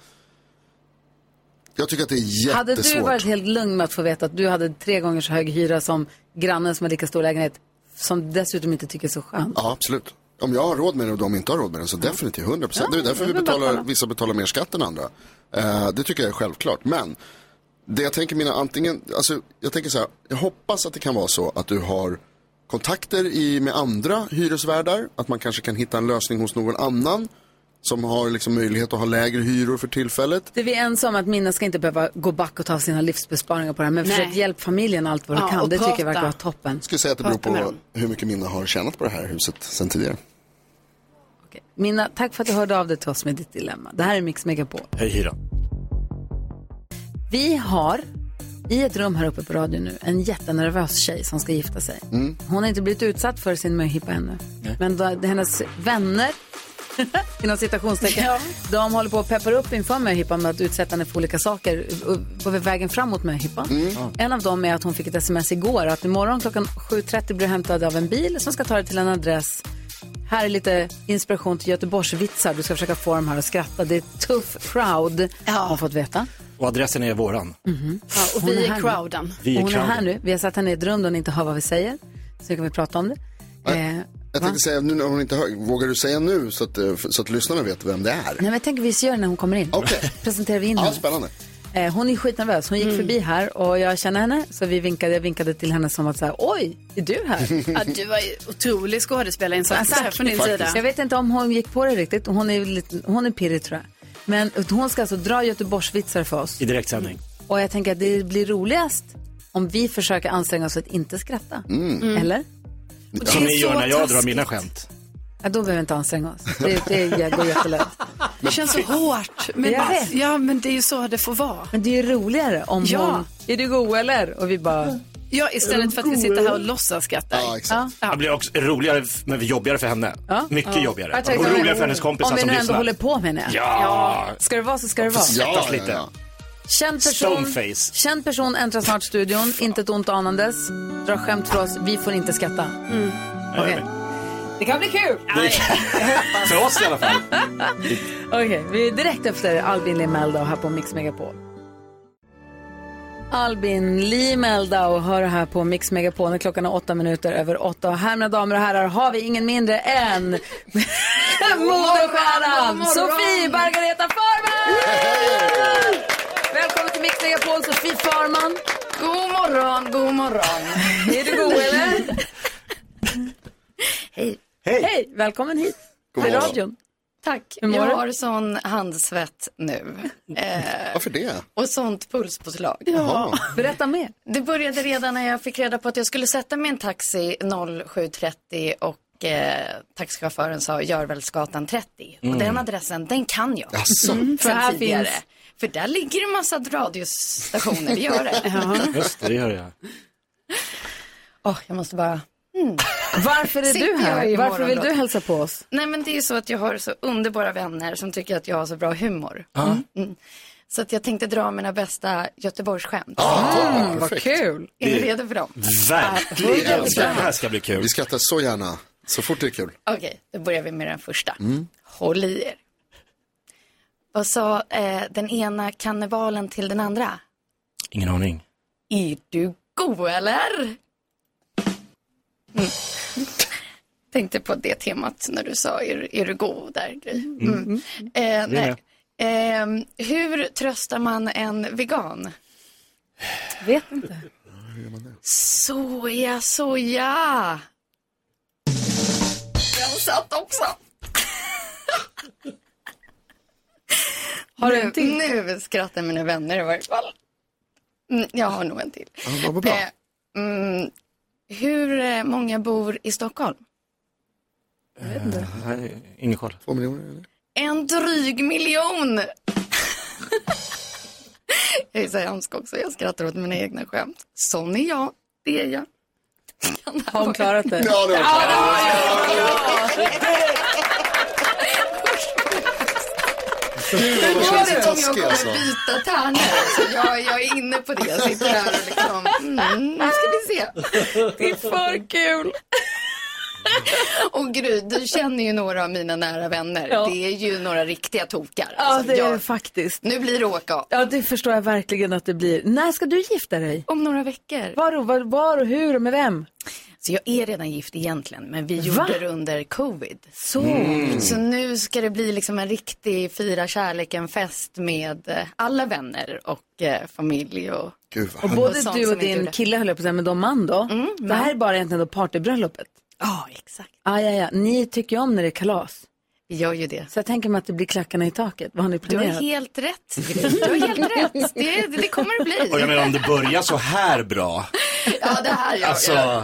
Jag tycker att det är Hade jättesvårt. du varit helt lugn med att få veta att du hade tre gånger så hög hyra som grannen som har lika stor lägenhet, som dessutom inte tycker är så skönt? Ja, absolut. Om jag har råd med det och de inte har råd med det så definitivt 100 procent. det är därför vi betalar, vissa betalar mer skatt än andra. Eh, det tycker jag är självklart. Men det jag tänker mina antingen, alltså jag tänker så här, jag hoppas att det kan vara så att du har kontakter i, med andra hyresvärdar, att man kanske kan hitta en lösning hos någon annan som har liksom möjlighet att ha lägre hyror för tillfället. Det är vi är ensamma om att Minna ska inte behöva gå back och ta sina livsbesparingar på det här, men Nej. försök hjälp familjen allt vad du Ja, kan. och Det tycker jag prata. verkar vara toppen. Jag skulle säga att det beror Prata med på dem. hur mycket Minna har tjänat på det här huset sen tidigare. Okej. Minna, tack för att du hörde av dig till oss med ditt dilemma. Det här är Mix Megapol. Höj hyran. Vi har i ett rum här uppe på radion nu en jättenervös tjej som ska gifta sig. Hon har inte blivit utsatt för sin möhippa ännu. Men då, hennes vänner, inom citationstecken, de håller på att peppar upp inför möhippan med att utsätta henne för olika saker eh, på vägen fram mot möhippan. En av dem är att hon fick ett sms igår att imorgon klockan 7.30 blir du hämtad av en bil som ska ta dig till en adress här är lite inspiration till Göteborgsvitsar. Du ska försöka få dem här att skratta. Det är tuff crowd, har hon fått veta. Och adressen är våran. Ja, och Hon är vi här är nu. crowden. Vi är Mm. hon är här crowden. nu. Vi har satt henne i ett rum där hon inte hör vad vi säger. Så kan vi prata om det. Eh, Jag va? tänkte säga, nu när hon inte hör, vågar du säga nu så att, eh, så att lyssnarna vet vem det är? Nej, men jag tänker vi gör det när hon kommer in. Okej. Presenterar vi in Ja, henne. spännande. Eh, hon är skitnervös. Hon gick förbi här och jag känner henne. Så vi vinkade, jag vinkade till henne som att så här, oj, är du här? Ja, du var ju otrolig skådespelarinsats här från din sida. Jag vet inte om hon gick på det riktigt. Hon är, lite, hon är pirrig tror jag. Men hon ska alltså dra Göteborgsvitsar för oss. I direktsändning. Och jag tänker att det blir roligast om vi försöker anstränga oss att inte skratta. Mm. Eller? Och Som det är ni gör så när jag drar taskigt. mina skämt. Ja, då behöver vi inte anstränga oss. Det, det går jättelätt. Det känns så hårt. Men, Jag vet. ja, men det är ju så det får vara. Men det är ju roligare om Ja. hon... Är du god eller? Och vi bara... Ja, istället för att vi sitter här och låtsas skrattar. Ja, exakt. Det blir också roligare, f- men jobbigare för henne. Mycket jobbigare. Jag tänkte, Och om vi- roligare för hennes kompisar Om vi som nu ändå lyssnar. håller på med henne. Ja! Ska det vara så ska det vara. svettas lite. Känd person, Stoneface. känd person äntrar snart studion. Inte ett ont anandes. Dra skämt för oss. Vi får inte skratta. Mm. Okej. Det kan bli kul! För oss i alla fall. Okej, vi är direkt efter Albin Limeldau här på Mix Megapol. Albin Limeldau hör här på Mix Megapol när klockan är åtta minuter över åtta. Och här, mina damer och herrar, har vi ingen mindre än modestjärnan Sofie Margareta Farman! Välkommen till Mix Megapol, Sofie Farman. God morgon, god morgon. Är du god eller? Hej! Hej, välkommen hit God till morgon. radion. Tack. Hur mår du? Mm. Jag har sån handsvett nu eh, Varför det? och sånt pulspåslag. Jaha. Berätta mer. Det började redan när jag fick reda på att jag skulle sätta mig i en taxi 07.30 och eh, taxichauffören sa Görvelsgatan 30. Och den adressen, den kan jag. Jaså? För Mm. här här tidigare. finns- För där ligger en massa radiostationer, det gör det. Just det, det gör jag. Åh, jag måste bara... Varför är Sitter du jag i här? Varför vill morgonrock? du hälsa på oss? Nej men det är ju så att jag har så underbara vänner som tycker att jag har så bra humor. Mm. Så att jag tänkte dra mina bästa Göteborgsskämt. Mm, Ah, Vad perfekt. kul. Är ni Det- redo för dem? Verkligen! Det här ska bli kul. Vi skrattar så gärna, så fort det är kul. Okej, då börjar vi med den första. Håll i er. Vad sa eh, den ena kannibalen till den andra? Ingen aning. Är du god eller? Mm. Tänkte på det temat när du sa är, är du god där Gry? Mm. Eh, nej. Ehm, hur tröstar man en vegan? Vet inte. Soja, soja. Den satt också. Har du en Nu- till? Nu skrattar mina vänner i varje fall. Mm, jag har nog en till. Ja, vad bra. Eh, mm, hur eh, många bor i Stockholm? Nej, Eh, Ingen koll. Två miljoner eller? En dryg miljon! jag är så hemsk också, jag skrattar åt mina egna skämt. Sån är jag, det är jag. Har hon klarat det? Ja, det var bra. Gud, vad de känns så Oavsett om jag taskiga kommer alltså. byta tärnor. Så jag, jag är inne på det. Jag sitter här och liksom, mm, nu ska vi se. Det är för kul. Och Gry, du känner ju några av mina nära vänner. Det är ju några riktiga tokar. Ja, Alltså, det är jag, det faktiskt. nu blir det åka av. Ja, det förstår jag verkligen att det blir. När ska du gifta dig? Om några veckor. Var och, var, var och hur och med vem? Så jag är redan gift egentligen, men vi gjorde Va? det under covid. Så. Mm. Så nu ska det bli liksom en riktig fira kärleken-fest med eh, alla vänner och eh, familj och Gud, Och vad både Mm. sånt du och som Mm, inte din gjorde. kille höll jag på att säga, men de man då? det här är bara egentligen då partybröllopet. Ja, exakt. Ah, ja, ja. Ni tycker ju om när det är kalas. Vi gör ju det. Så jag tänker mig att det blir klackarna i taket. Vad har ni Du har planerat? helt rätt. Gry. Du har helt rätt. Det, det kommer det Och jag bli. menar om det börjar så här bra. Ja, det här gör jag. Alltså,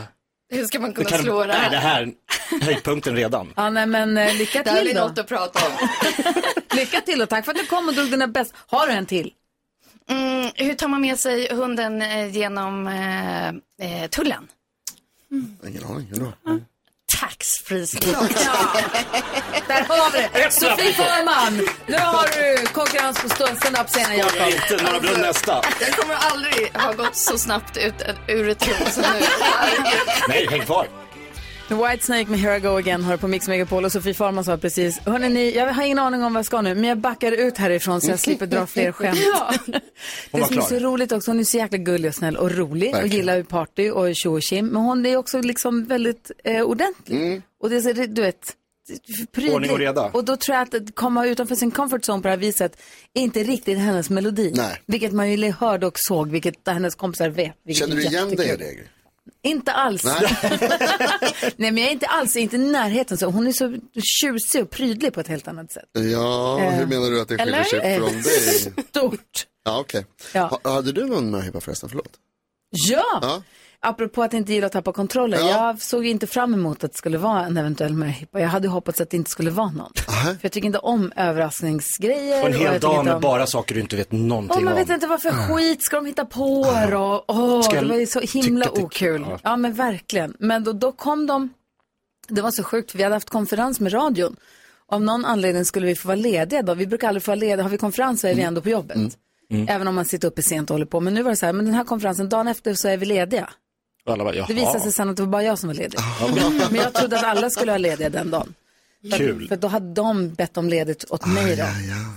Hur ska man det kunna kan... slå det Nej, det här? här höjdpunkten redan. Ja, nej, men eh, lycka Det här blir till då. något att prata om. Lycka till och tack för att du kom och drog dina bäst. Har du en till? Mm, hur tar man med sig hunden eh, genom eh, eh, tullen? Ingen aning, hur då? Taxfree-slag. Där har vi det. Sofie Farman, nu har du konkurrens på stund. Stand up senare, Jakob. Inte några brunn nästa. Jag kommer aldrig ha gått så snabbt ut eh, ur ett rum som nu. Nej, häng kvar. Whitesnake med Here I Go Again hör på Mix Megapol och Sofie Farman sa precis, hörni ni, jag har ingen aning om vad jag ska nu, men jag backar ut härifrån så jag slipper dra fler skämt. Hon Det var som är så klar. roligt också, hon är så jäkla gullig och snäll och rolig och Verkligen. gillar ju party och tjo och tjim, men hon är också liksom väldigt eh, ordentlig. Och det är så, du vet, prydlig. Ordning och reda. Och då tror jag att, att komma utanför sin comfort zone på det här viset är inte riktigt hennes melodi. Nej. Vilket man ju hörde och såg, vilket hennes kompisar vet. vilket Känner är du igen dig i jättekul. det? Gry? Inte alls. Nej. Nej, men jag är inte alls inte i närheten så. Hon är så tjusig och prydlig på ett helt annat sätt. Eh, Ja, hur menar du att det skiljer sig från dig? Stort. Ja, okej. Ja. Ha, hade du någon möhippa förresten? Förlåt. Ja! Ja. Apropå att inte gilla att tappa kontrollen. Ja. Jag såg ju inte fram emot att det skulle vara en eventuell möhippa. Jag hade ju hoppats att det inte skulle vara någon. Ah. För jag tycker inte om överraskningsgrejer. Och en jag hel tycker dag inte med om- bara saker du inte vet Och någonting man om. Mm. Ah. vet inte vad för skit ska de hitta på då? Åh, Ska det jag var ju så himla tycka till- okul. Ja. Ja, men verkligen. Men då, då kom de, det var så sjukt för vi hade haft konferens med radion. Mm. Av någon anledning skulle vi få vara lediga då. Vi brukar aldrig få vara lediga. Har vi konferens så är vi ändå på jobbet. Även om man sitter uppe sent och håller på. Men nu var det så här, men den här konferensen, dagen efter så är vi lediga. Och alla bara, Det "Jaha." visade sig sen att det var bara jag som var ledig. Men jag trodde att alla skulle ha lediga den dagen. För- Ah. Kul. Ah, För då hade de bett om ledigt åt mig då.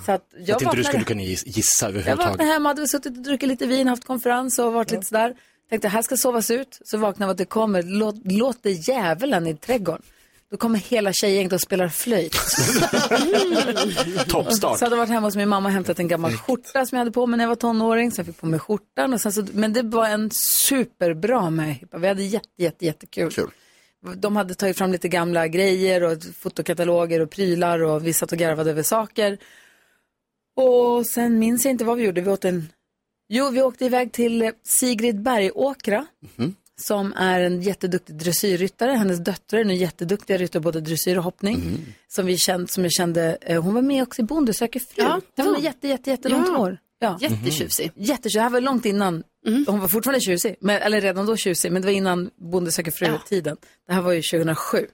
Så att Jag jag att inte du skulle vaknade, kunna gis- gissa jag vaknade överhuvudtaget. hemma, hade suttit och druckit lite vin, haft konferens och varit lite sådär. Tänkte här ska sovas ut, så vaknade jag att det kommer, låt, låt det djävulen i trädgården. Då kommer hela tjejgänget och spelar flöjt. Toppstart. Så hade jag varit hemma hos min mamma och hämtat en gammal skjorta som jag hade på mig när jag var tonåring. Så jag fick på mig skjortan. Och sen så, men det var en superbra möhippa. Vi hade jätte, jätte, jättekul. Kul. De hade tagit fram lite gamla grejer och fotokataloger och prylar och vi satt och garvade över saker. Och sen minns jag inte vad vi gjorde. Vi åt en... Jo, vi åkte iväg till eh, Sigrid Bergåkra Mhm. som är en jätteduktig dressyrryttare. Hennes döttrar är nu jätteduktiga ryttare, både dressyr och hoppning. Mhm. Som, vi känt, som jag kände, eh, hon var med också i Bonde söker fru. Ja, det var hon var hon. jätte, jätte, jättelångt Ja. hår. Ja. Jättetjusig. Mm. Jättetjusig. Det här var långt innan, Mm. hon var fortfarande tjusig, men, eller redan då tjusig, men det var innan Bonde söker fru-tiden. Det här var ju 2007.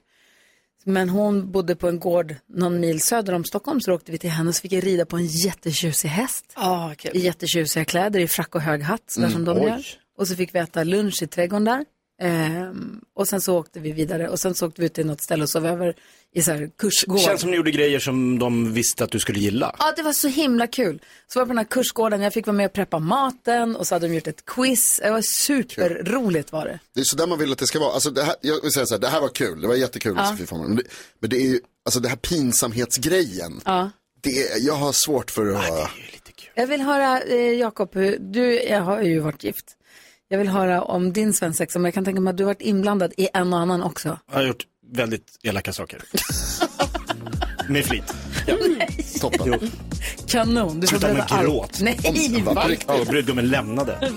Men hon bodde på en gård någon mil söder om Stockholm, så då åkte vi till henne och så fick jag rida på en jättetjusig häst Ja, kul. i jättetjusiga kläder, i frack och hög hatt, sådär som de Mm, oj. gör. Och så fick vi äta lunch i trädgården där. Ehm, och sen så åkte vi vidare och sen så åkte vi ut till något ställe och sov över i så här kursgård. Känns som ni gjorde grejer som de visste att du skulle gilla. Ja, det var så himla kul. Så var jag på den här kursgården, jag fick vara med och preppa maten och så hade de gjort ett quiz. Det var superroligt var det. Det är sådär man vill att det ska vara. Alltså det här, jag vill säga så här, det här var kul, det var jättekul med Sofie Forman. Men det, men det är ju, alltså det här pinsamhetsgrejen. Ja. Det är, jag har svårt för att höra. Jag vill höra, eh, Jakob, hur- du jag har ju varit gift. Jag vill höra om din svensexa, men jag kan tänka mig att du har varit inblandad i en och annan också. Jag har gjort väldigt elaka saker. Med flit. toppen. Jo. Kanon, du får Sluta med berätta allt. gråt. Nej, Va, va? på riktigt. Ja, brudgummen lämnade.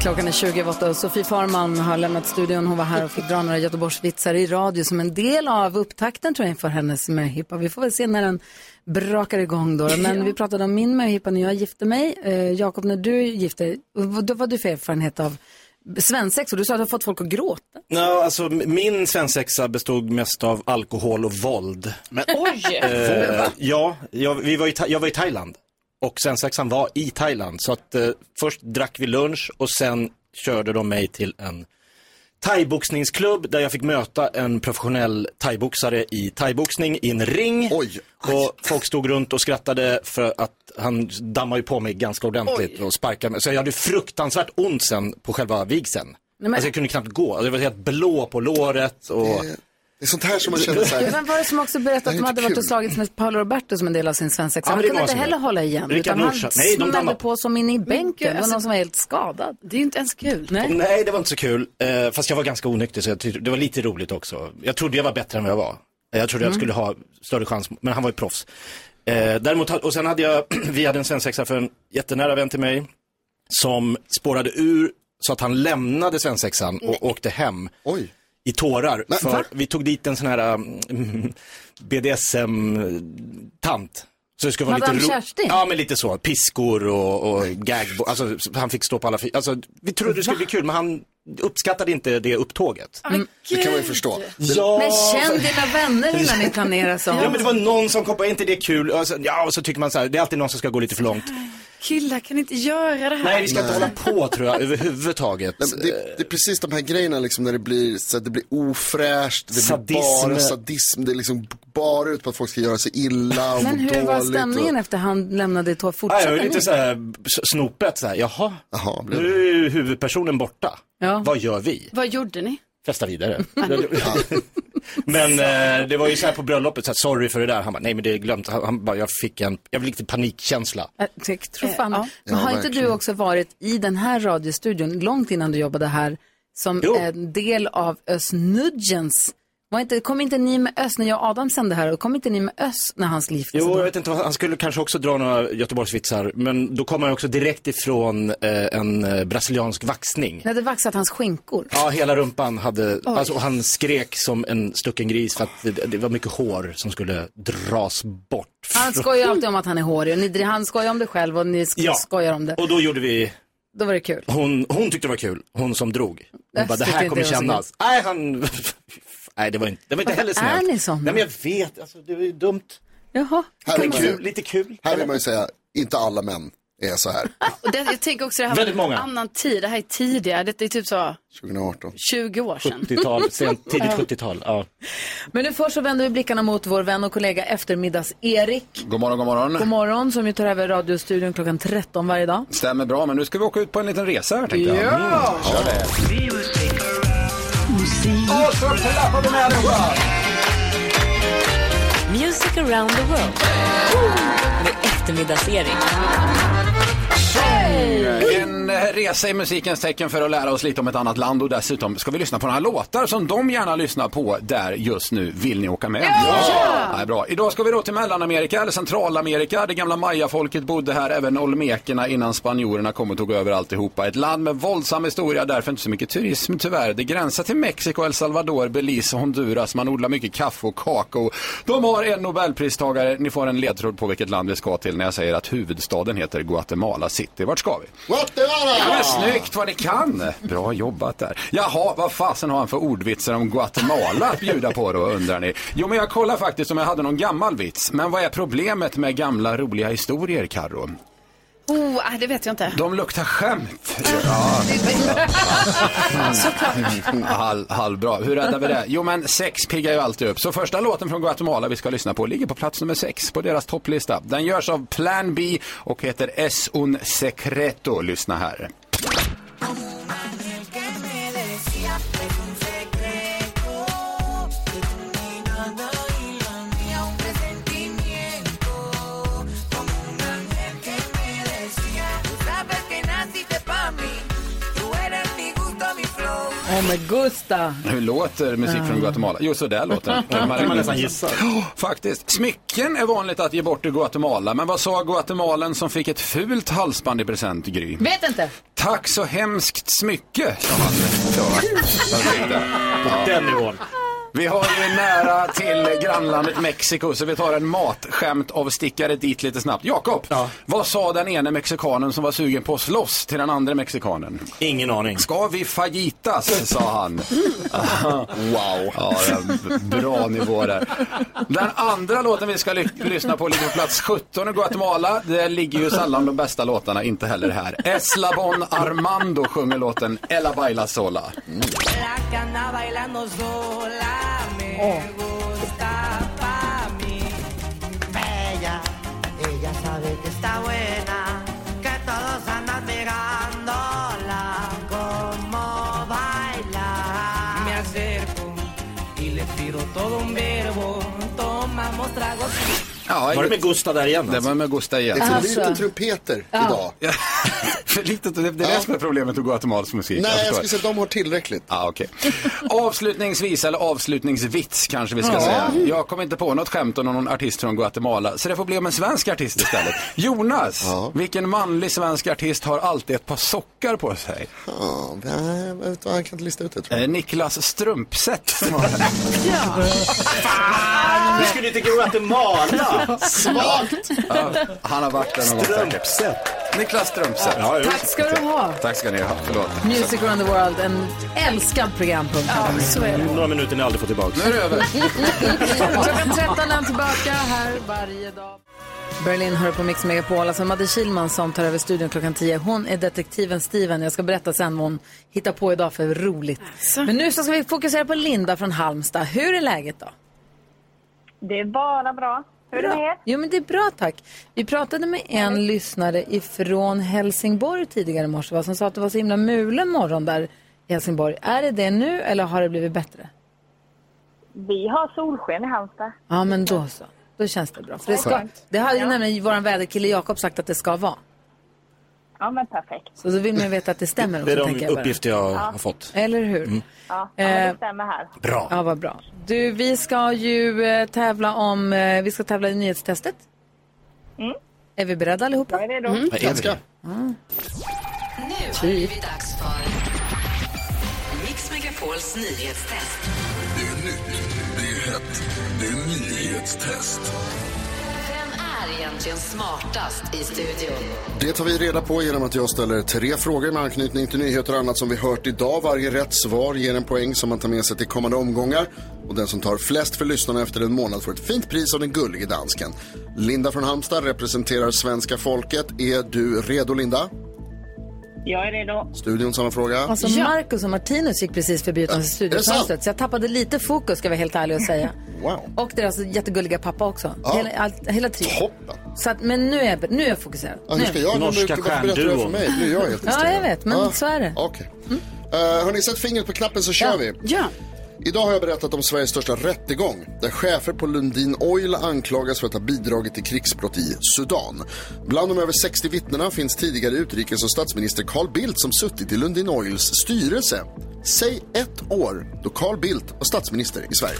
Klockan är 28 och Sofie Farman har lämnat studion. Hon var här och fick dra några Göteborgsvitsar i radio som en del av upptakten tror jag inför hennes möhippa. Vi får väl se när den brakar igång då. Men vi pratade om min möhippa när jag gifte mig. Eh, Jakob, när du gifte dig, vad vad var du för erfarenhet av svensexor? Du sa att du har fått folk att gråta. Ja, alltså, m- min svensexa bestod mest av alkohol och våld. Men, Oj! eh, ja, jag, vi var i, Tha- jag var i Thailand och svensexan var i Thailand. Så att, eh, först drack vi lunch och sen körde de mig till en thaiboxningsklubb där jag fick möta en professionell thaiboxare i thaiboxning i en ring. Oj. Och folk stod runt och skrattade för att han dammade ju på mig ganska ordentligt och sparkade mig. Så jag hade fruktansvärt ont sen på själva vigseln. Alltså jag kunde knappt gå. Alltså, Jag var helt blå på låret Eh. och... Det är sånt här som man känner så här. Vem var det som också berättade Det att är de inte hade varit kul. och slagits med Paolo Roberto som en del av sin svensexa? Ja, Han det är kunde många inte som heller gör. hålla igen, Rickard utan han Norsa. Nej, de smällde dammar. på som in i bänken. Det var alltså- någon som var helt skadad. Det är ju inte ens kul. Nej. Nej, det var inte så kul. Eh, fast jag var ganska onykter så jag tyckte, det var lite roligt också. Jag trodde jag var bättre än vad jag var. Eh, Jag trodde jag skulle ha större chans, men han var ju proffs. Eh, däremot, ha- och sen hade jag, vi hade en svensexa för en jättenära vän till mig som spårade ur så att han lämnade svensexan och åkte hem Oj. i tårar. Men, va? för vi tog dit en sån här mm, BDSM-tant. Så det skulle vara Madame lite Kerstin? Ja, men lite så. Piskor och, och gagbo. Alltså, han fick stå på alla fyra. Alltså, vi trodde det skulle bli kul, men han uppskattade inte det upptåget. Det kan man ju förstå. Ja, Men känn dina vänner innan ni planerar så. ja, men det var någon som kom på, är inte det kul? Alltså, ja, och så tycker man så här, det är alltid någon som ska gå lite för långt. Killar kan inte göra det här. Nej, vi ska inte hålla på tror jag, överhuvudtaget. Nej, men det, det är precis de här grejerna liksom när det blir, så att det blir ofräscht, det blir Sadism. bara sadism, det är liksom bara ut på att folk ska göra sig illa och Men må hur var dåligt stämningen Och... efter han lämnade tå? Nej, jag Fortsatte var Ah, lite ni? så här s- snopet så här, jaha, Jaha, blev det. nu är ju huvudpersonen borta. Ja. Vad gör vi? Vad gjorde ni? festa vidare. men eh, det var ju så här på bröllopet, så här, sorry för det där. Han bara, nej men det är glömt. Han, han bara, jag fick en, jag fick lite panikkänsla. Jag Äh, tyck- tror fan. Eh, ja. Men har Ja, inte du verkligen. också varit i den här radiostudion långt innan du jobbade här som Jo. en del av Özz Nudgens? Var inte, kom inte ni med Özz när jag och Adam sände här och kom inte ni med Özz när hans liv Jo, jag vet inte, vad- han skulle kanske också dra några Göteborgsvitsar, men då kom han ju också direkt ifrån eh, en eh, brasiliansk vaxning. Ni hade vaxat hans skinkor. Ja, hela rumpan hade, alltså och han skrek som en stucken gris för att det, det var mycket hår som skulle dras bort. Han skojar alltid om att han är hårig och ni, dri- han skojar om det själv och ni sk- Ja. skojar om det. Och då gjorde vi Då var det kul. Hon, hon tyckte det var kul, hon som drog. Hon Jag bara, det tycker här inte kommer det var så kännas. Nej, han... Nej, det var inte, det var inte heller Varför är snällt. ni såna? Nej, men jag vet, alltså, det var ju dumt. Jaha. Här, vill Men man kul, ju, lite kul. här vill man ju säga, inte alla män är så här. Och det, jag tänker också det här var Väldigt en många. annan tid. Det här är tidigare. Det är typ så 2018. 20 år sedan. 70-tal, sent, tidigt Ja. 70-tal. Ja. Men nu först så vänder vi blickarna mot vår vän och kollega eftermiddags-Erik. God morgon, god morgon. God morgon, som ju tar över radiostudion klockan 13 varje dag. Stämmer bra, men nu ska vi åka ut på en liten resa här tänkte jag. Ja! Kör det. Och så klappar vi med allihopa! Music around the world. Med eftermiddagsserie. En eh, resa i musikens tecken för att lära oss lite om ett annat land och dessutom ska vi lyssna på några låtar som de gärna lyssnar på där just nu. Vill ni åka med? Ja! Nej, bra. Idag ska vi då till Mellanamerika eller Centralamerika. Det gamla mayafolket bodde här, även olmekerna innan spanjorerna kom och tog över alltihopa. Ett land med våldsam historia, därför inte så mycket turism tyvärr. Det gränsar till Mexiko, El Salvador, Belize och Honduras. Man odlar mycket kaffe och kakao. De har en Nobelpristagare. Ni får en ledtråd på vilket land vi ska till när jag säger att huvudstaden heter Guatemala City. Vart ska vi? Ja, men snyggt vad ni kan! Bra jobbat där. Jaha, vad fasen har han för ordvitsar om Guatemala att bjuda på då, undrar ni? Jo, men jag kollar faktiskt om jag hade någon gammal vits. Men vad är problemet med gamla roliga historier, Karo? Oh, ah, det vet jag inte. De luktar skämt. Ja. Mm, Halv, halv bra. Hur räddar vi det? Jo, men sex piggar ju alltid upp. Så första låten från Guatemala vi ska lyssna på ligger på plats nummer sex på deras topplista. Den görs av Plan B och heter Es un secreto. Lyssna här. Åh, oh, men Gusta. Hur låter musik från Guatemala? Jo, så där låter den. Ja, kan man nästan gissa. Ja, faktiskt. Smycken är vanligt att ge bort i Guatemala, men vad sa guatemalen som fick ett fult halsband i present, Gry? Vet inte. Tack så hemskt smycke, sa han. Så, perfekt där. Ja. På den nivån. Vi har ju nära till grannlandet Mexiko så vi tar en matskämt av stickare dit lite snabbt. Jakob, vad sa den ene mexikanen som var sugen på att slåss till den andra mexikanen? Ingen aning. Ska vi fajitas, sa han. wow. Ja, det är en bra nivå där. Den andra låten vi ska ly- lyssna på ligger på plats 17 i Guatemala. Det ligger ju sällan de bästa låtarna, inte heller här. Eslabon Armando sjunger låten Ella Baila Sola. Ja, Var det med Gusta där igen? Det var med Gusta igen. Det är för Alltså. lite trumpeter Ja. idag. för lite, det, det är det som är problemet med Guatemalas musik. Nej, jag förstår. skulle säga att de har tillräckligt. Ah, okay. Avslutningsvis, eller avslutningsvits kanske vi ska Ja. säga. Jag kom inte på något skämt om någon artist från Guatemala, så det får bli om en svensk artist istället. Jonas, vilken manlig svensk artist har alltid ett par sockar på sig? Ja, nej, jag vet inte, han kan inte lista ut det. Eh, Niklas Strumpset. Vi skulle inte Guatemala. Svagt. Ja, han har varit där någon gång säkert. Niklas Strumpset. Tack ska du ha. Tack ska ni ha. Förlåt. Music around the world, en älskad programpunkt. Ja, Några minuter ni aldrig får tillbaka. Nu är det över. Klockan 13 är han tillbaka här varje dag. Berlin hör på Mix Megapol. Alltså Madde Kilman som tar över studion klockan 10. Hon är detektiven Steven. Jag ska berätta sen vad hon hittar på idag för roligt. Men nu så ska vi fokusera på Linda från Halmstad. Hur är läget då? Det är bara bra. Hur är det med er? Jo men det är bra tack. Vi pratade med en lyssnare ifrån Helsingborg tidigare i morse va, som sa att det var så himla mulen morgon där i Helsingborg. Är det det nu eller har det blivit bättre? Vi har solsken i Halmstad. Ja men då så. Då känns det bra. För det, ska, Skönt. det har ju nämligen vår väderkille Jakob sagt att det ska vara. Ja, men perfekt. Så då vill man ju veta att det stämmer också, Det är de tänker jag bara. uppgifter jag Ja. har fått. Eller hur? Mm. Ja, ja, men Eh, det stämmer här. Bra. Ja, vad bra. Du, vi ska ju eh, tävla om, eh, vi ska tävla i nyhetstestet. Mm. Är vi beredda allihopa? Jag är redo. Vad är vi? Ganska. Mm. Nu har det blivit dags för Mix Megapols nyhetstest. Det är nytt, det är hett, det är nyhetstest. Vem är är egentligen smartast i studion? Det tar vi reda på genom att jag ställer tre frågor med anknytning till nyheter och annat som vi hört idag. Varje rätt svar ger en poäng som man tar med sig till kommande omgångar. Och den som tar flest för lyssnarna efter en månad får ett fint pris av den gullige dansken. Linda från Halmstad representerar svenska folket. Är du redo, Linda? Jag är redo. Studion samma fråga. Alltså Marcus och Martinus gick precis förbi utanför studiofönstret så jag tappade lite fokus ska jag vara helt ärlig och säga. Wow. Och deras jättegulliga pappa också. Ja. Hela, allt, hela tre. Toppen. Så att, men nu är, jag- nu är jag fokuserad. Ja, nu ska jag Norska Norska stjärnduon. För stjärnduon. mig. Nu är jag helt Ja, jag vet. Men Ja. så är det. Mm. Okej. Eh, hörni, sätt fingret på knappen så kör vi. Ja. Idag har jag berättat om Sveriges största rättegång där chefer på Lundin Oil anklagas för att ha bidragit till krigsbrott i Sudan. Bland de över 60 vittnena finns tidigare utrikes och statsminister Carl Bildt som suttit i Lundin Oils styrelse. Säg ett år då Carl Bildt var statsminister i Sverige.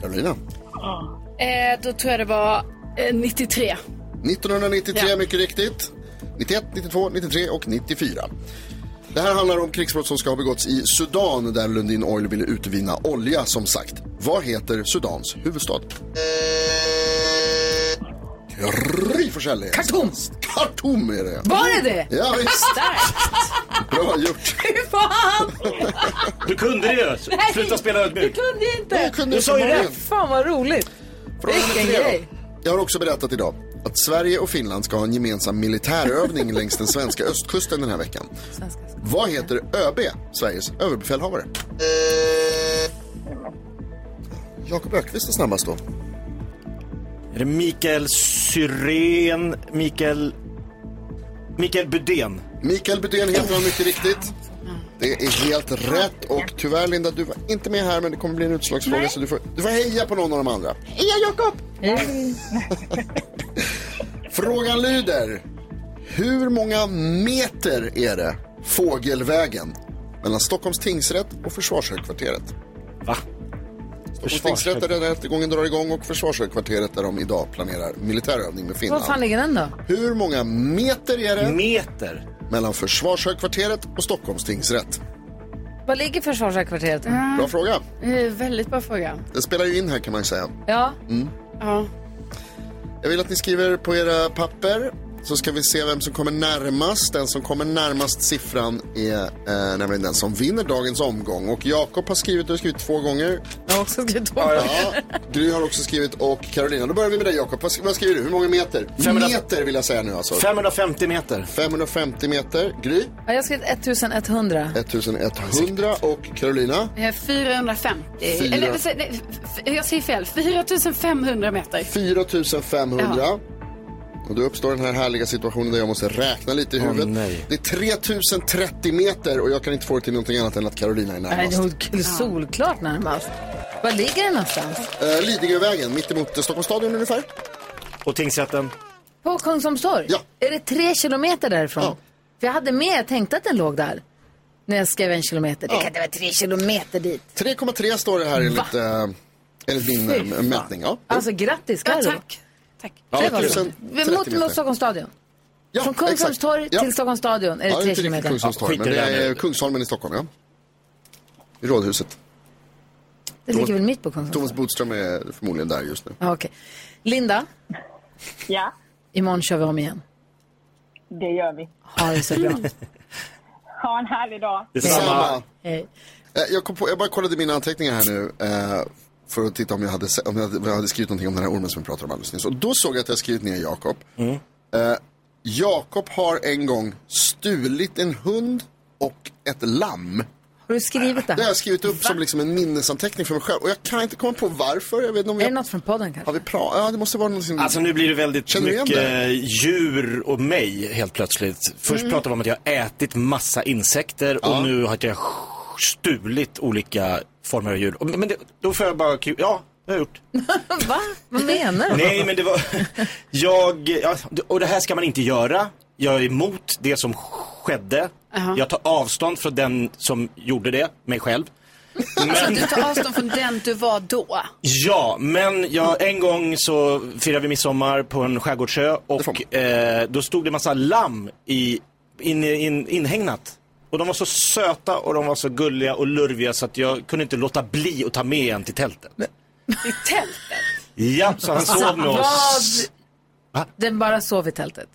Carolina. Eh, då tror jag det var eh, 93. 1993 mycket riktigt. 91, 92, 93 och 94. Det här handlar om krigsbrott som ska ha begåtts i Sudan där Lundin Oil ville utvinna olja som sagt. Vad heter Sudans huvudstad? Gry Forssell är det. Khartoum. Khartoum är det. Var är det? Ja, visst. Starkt. Bra gjort. Fy fan! Du kunde det ju! Nej, Sluta spela ödmjuk. Det kunde jag inte. Jag kunde Du sa ju inte. rätt. Fan vad roligt. Fråga nummer Vilken tre då. grej. Jag har också berättat idag att Sverige och Finland ska ha en gemensam militärövning längs den svenska östkusten den här veckan. Vad heter ÖB, Sveriges överbefälhavare? Jakob Ökvist är snabbast då. Är det Mikael Syrén? Mikael... Mikael Budén? Mikael Budén heter han mycket riktigt. Det är helt rätt och tyvärr Linda, du var inte med här men det kommer bli en utslagsfråga så du får, du får heja på någon av de andra. Heja Jakob! Frågan lyder, hur många meter är det fågelvägen mellan Stockholms tingsrätt och Försvarshögkvarteret? Va? Stockholms tingsrätt är där rättegången drar igång och Försvarshögkvarteret där de idag planerar militärövning med Finland. Var fan ligger den då? Hur många meter är det? Meter? Mellan Försvarshögkvarteret och Stockholms tingsrätt. Var ligger försvarshögkvarteret? Bra fråga. Eh, väldigt bra fråga. Den spelar ju in här kan man ju säga. Ja. Mm. Ja. Jag vill att ni skriver på era papper så ska vi se vem som kommer närmast. Den som kommer närmast siffran är eh, nämligen den som vinner dagens omgång. Och Jakob har skrivit, du har skrivit två gånger. Jag har också skrivit två gånger. Ja, Gry har också skrivit och Carolina. Då börjar vi med dig Jakob. Vad sk- vad skriver du? Hur många meter? 500 Meter vill jag säga nu alltså. 550 meter. 550 meter. Gry? Ja, jag har skrivit 1100. 1100 och Carolina? Eh, 450. Fyra. Eh, Eller, säg- nej, f- jag säger fel. 4500 meter. 4500. Ja. Och då uppstår den här härliga situationen där jag måste räkna lite i Åh, huvudet. nej. det är 3030 meter och jag kan inte få det till någonting annat än att Carolina är Nej, närmast. det är solklart närmast. Var ligger den någonstans? Eh, Lidingövägen, mittemot eh, Stockholms stadion ungefär. Och tingsrätten? På Kungsholmstorg? Ja. Är det tre kilometer därifrån? För jag hade med, jag tänkte att den låg där. När jag skrev en kilometer. Det kan inte vara tre kilometer dit. 3,3 står det här enligt, eh, enligt min Fy eh, fan. mätning. Ja. Alltså grattis Carro. Ja, tack. Ja, det var 1030 roligt. Mot, meter. mot Stockholms stadion. Ja, Från Kungsholmstorg exakt. Ja. till Stockholms stadion är det Ja, det är tre inte riktigt kilometer. Kungsholmstorg, men det är Kungsholmen i Stockholm. Ja. I Rådhuset. Det ligger väl mitt på Kungsholmen? Thomas Bodström är förmodligen där just nu. Ja, okej. Linda, Ja, imorgon kör vi om igen. det gör vi. Ha det så bra. Ha en härlig dag. Detsamma. Hej. Eh, Jag, kom på, jag bara kollade mina anteckningar här nu eh, för att titta om jag, hade, se- om, jag hade, om jag hade skrivit någonting om den här ormen som vi pratade om alldeles nyss. Och då såg jag att jag skrivit ner Jakob. Eh, Jakob har en gång stulit en hund och ett lamm. Har du skrivit det här? Det har jag skrivit upp som liksom en minnesanteckning för mig själv. Och jag kan inte komma på varför. Jag vet inte om Är jag... det något från podden kanske? Har vi pratat? Ja, det måste vara någonting. Alltså nu blir det väldigt Känner du igen mycket det? djur och mig helt plötsligt. Först Mm. pratade vi om att jag har ätit massa insekter Ja. och nu har jag stulit olika former av djur. Och- Men det, då får jag bara, ku- ja, det har jag gjort. Va? Vad menar du? Nej, men det var... Jag... Ja, och det här ska man inte göra. Jag är emot det som skedde. Jaha. Jag tar avstånd från den som gjorde det, mig själv. Alltså, Men, du tar avstånd från den du var då. ja, men jag, en gång så firade vi midsommar på en skärgårdsö och eh, då stod det massa lamm i, in, in, inhägnat. Och de var så söta och de var så gulliga och lurviga så att jag kunde inte låta bli att ta med en till tältet. I tältet. Ja, så han sov med oss. Vad? Den bara sov i tältet.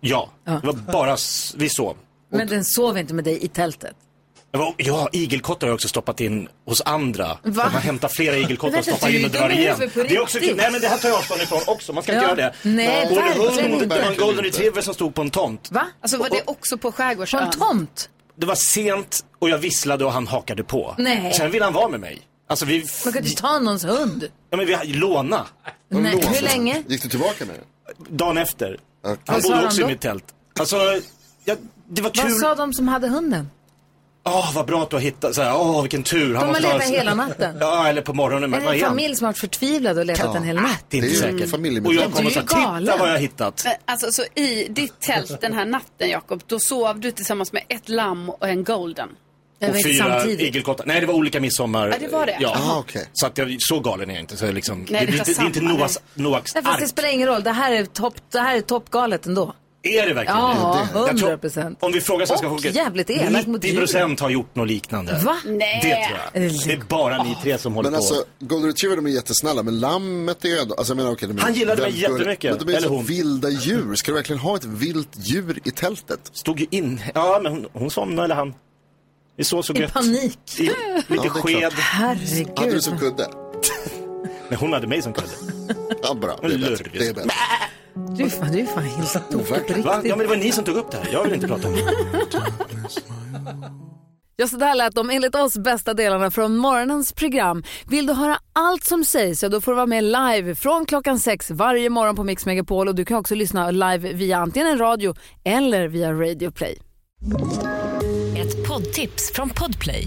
Ja, det var bara, s- vi sov. Men den sov inte med dig i tältet. Det var- Ja, igelkottar har jag också stoppat in hos andra. De Va? har hämtat flera igelkottar Men och vänta, stoppat du är in och ju drar dum i igen. huvudet på Det är också riktigt. kul. Nej, men det här tar jag avstånd ifrån också. Man ska inte Ja. göra det. Nej, Både verkligen hund inte. och en golden retriever som stod på en tomt. Va? Alltså var det också på skärgårdsön? På en tomt? Det var sent och jag visslade och han hakade på. Nej. Sen ville han vara med mig. Alltså vi... Man kan inte ta någons hund. Ja, men vi låna. Nej, Låna. hur länge? Gick du tillbaka med den? Dagen efter. Vad Han sa bodde han också då? i mitt tält. Alltså, jag, det var Vad kul. sa de som hade hunden? Åh, vad bra att du har hittat. Så här, Åh, vilken tur. De har måste ha letat en- hela natten. Ja, eller på morgonen. Är Men det vad en är han? familj som har varit förtvivlad och letat Ja. en hel natt? Det är inte Mm. säkert. Och jag kom och sa, titta vad jag har hittat. Men, alltså, så i ditt tält den här natten, Jakob, då sov du tillsammans med ett lamm och en golden. Och fyra igelkottar. Nej, det var olika midsommar. Ja, det var det. Ja. Aha, Så att jag, så galen är jag inte. Så jag liksom, Nej, det, det det, var det, det är inte samma, Noahs, Noaks Nej, fast det ark. spelar ingen roll. Det här är topp, det här är toppgalet ändå. Är det verkligen Ja, det? Jag tror- 100%. Om vi frågar svenska Och folket. jävligt elak mot 90 procent har gjort något liknande. Va? Nej. Det tror jag. Det är bara ni tre som håller Men alltså, på. golden retriever de är jättesnälla, men lammet är ju ändå... Alltså, jag menar, okej, de är Han gillade mig väldigt gulliga. jättemycket, Men de är eller så hon. vilda djur. Ska du verkligen ha ett vilt djur i tältet? Stod ju in... Ja, men hon, hon somnade, eller han. Vi sov så I gött. panik. I, lite Ja, det är klart. sked. Herregud. Hade du som kudde? Men hon hade mig som kudde. Ja, bra. Det är bättre. Det är bättre. Du, är fan- du är fan helt tokig på Va? Ja, men riktigt. det var ni som tog upp det här. Jag vill inte prata om det. Ja, så där lät de enligt oss bästa delarna från morgonens program. Vill du höra allt som sägs, ja, då får du vara med live från klockan sex varje morgon på Mix Megapol. Och du kan också lyssna live via antingen en radio eller via Radio Play. Ett poddtips från Podplay.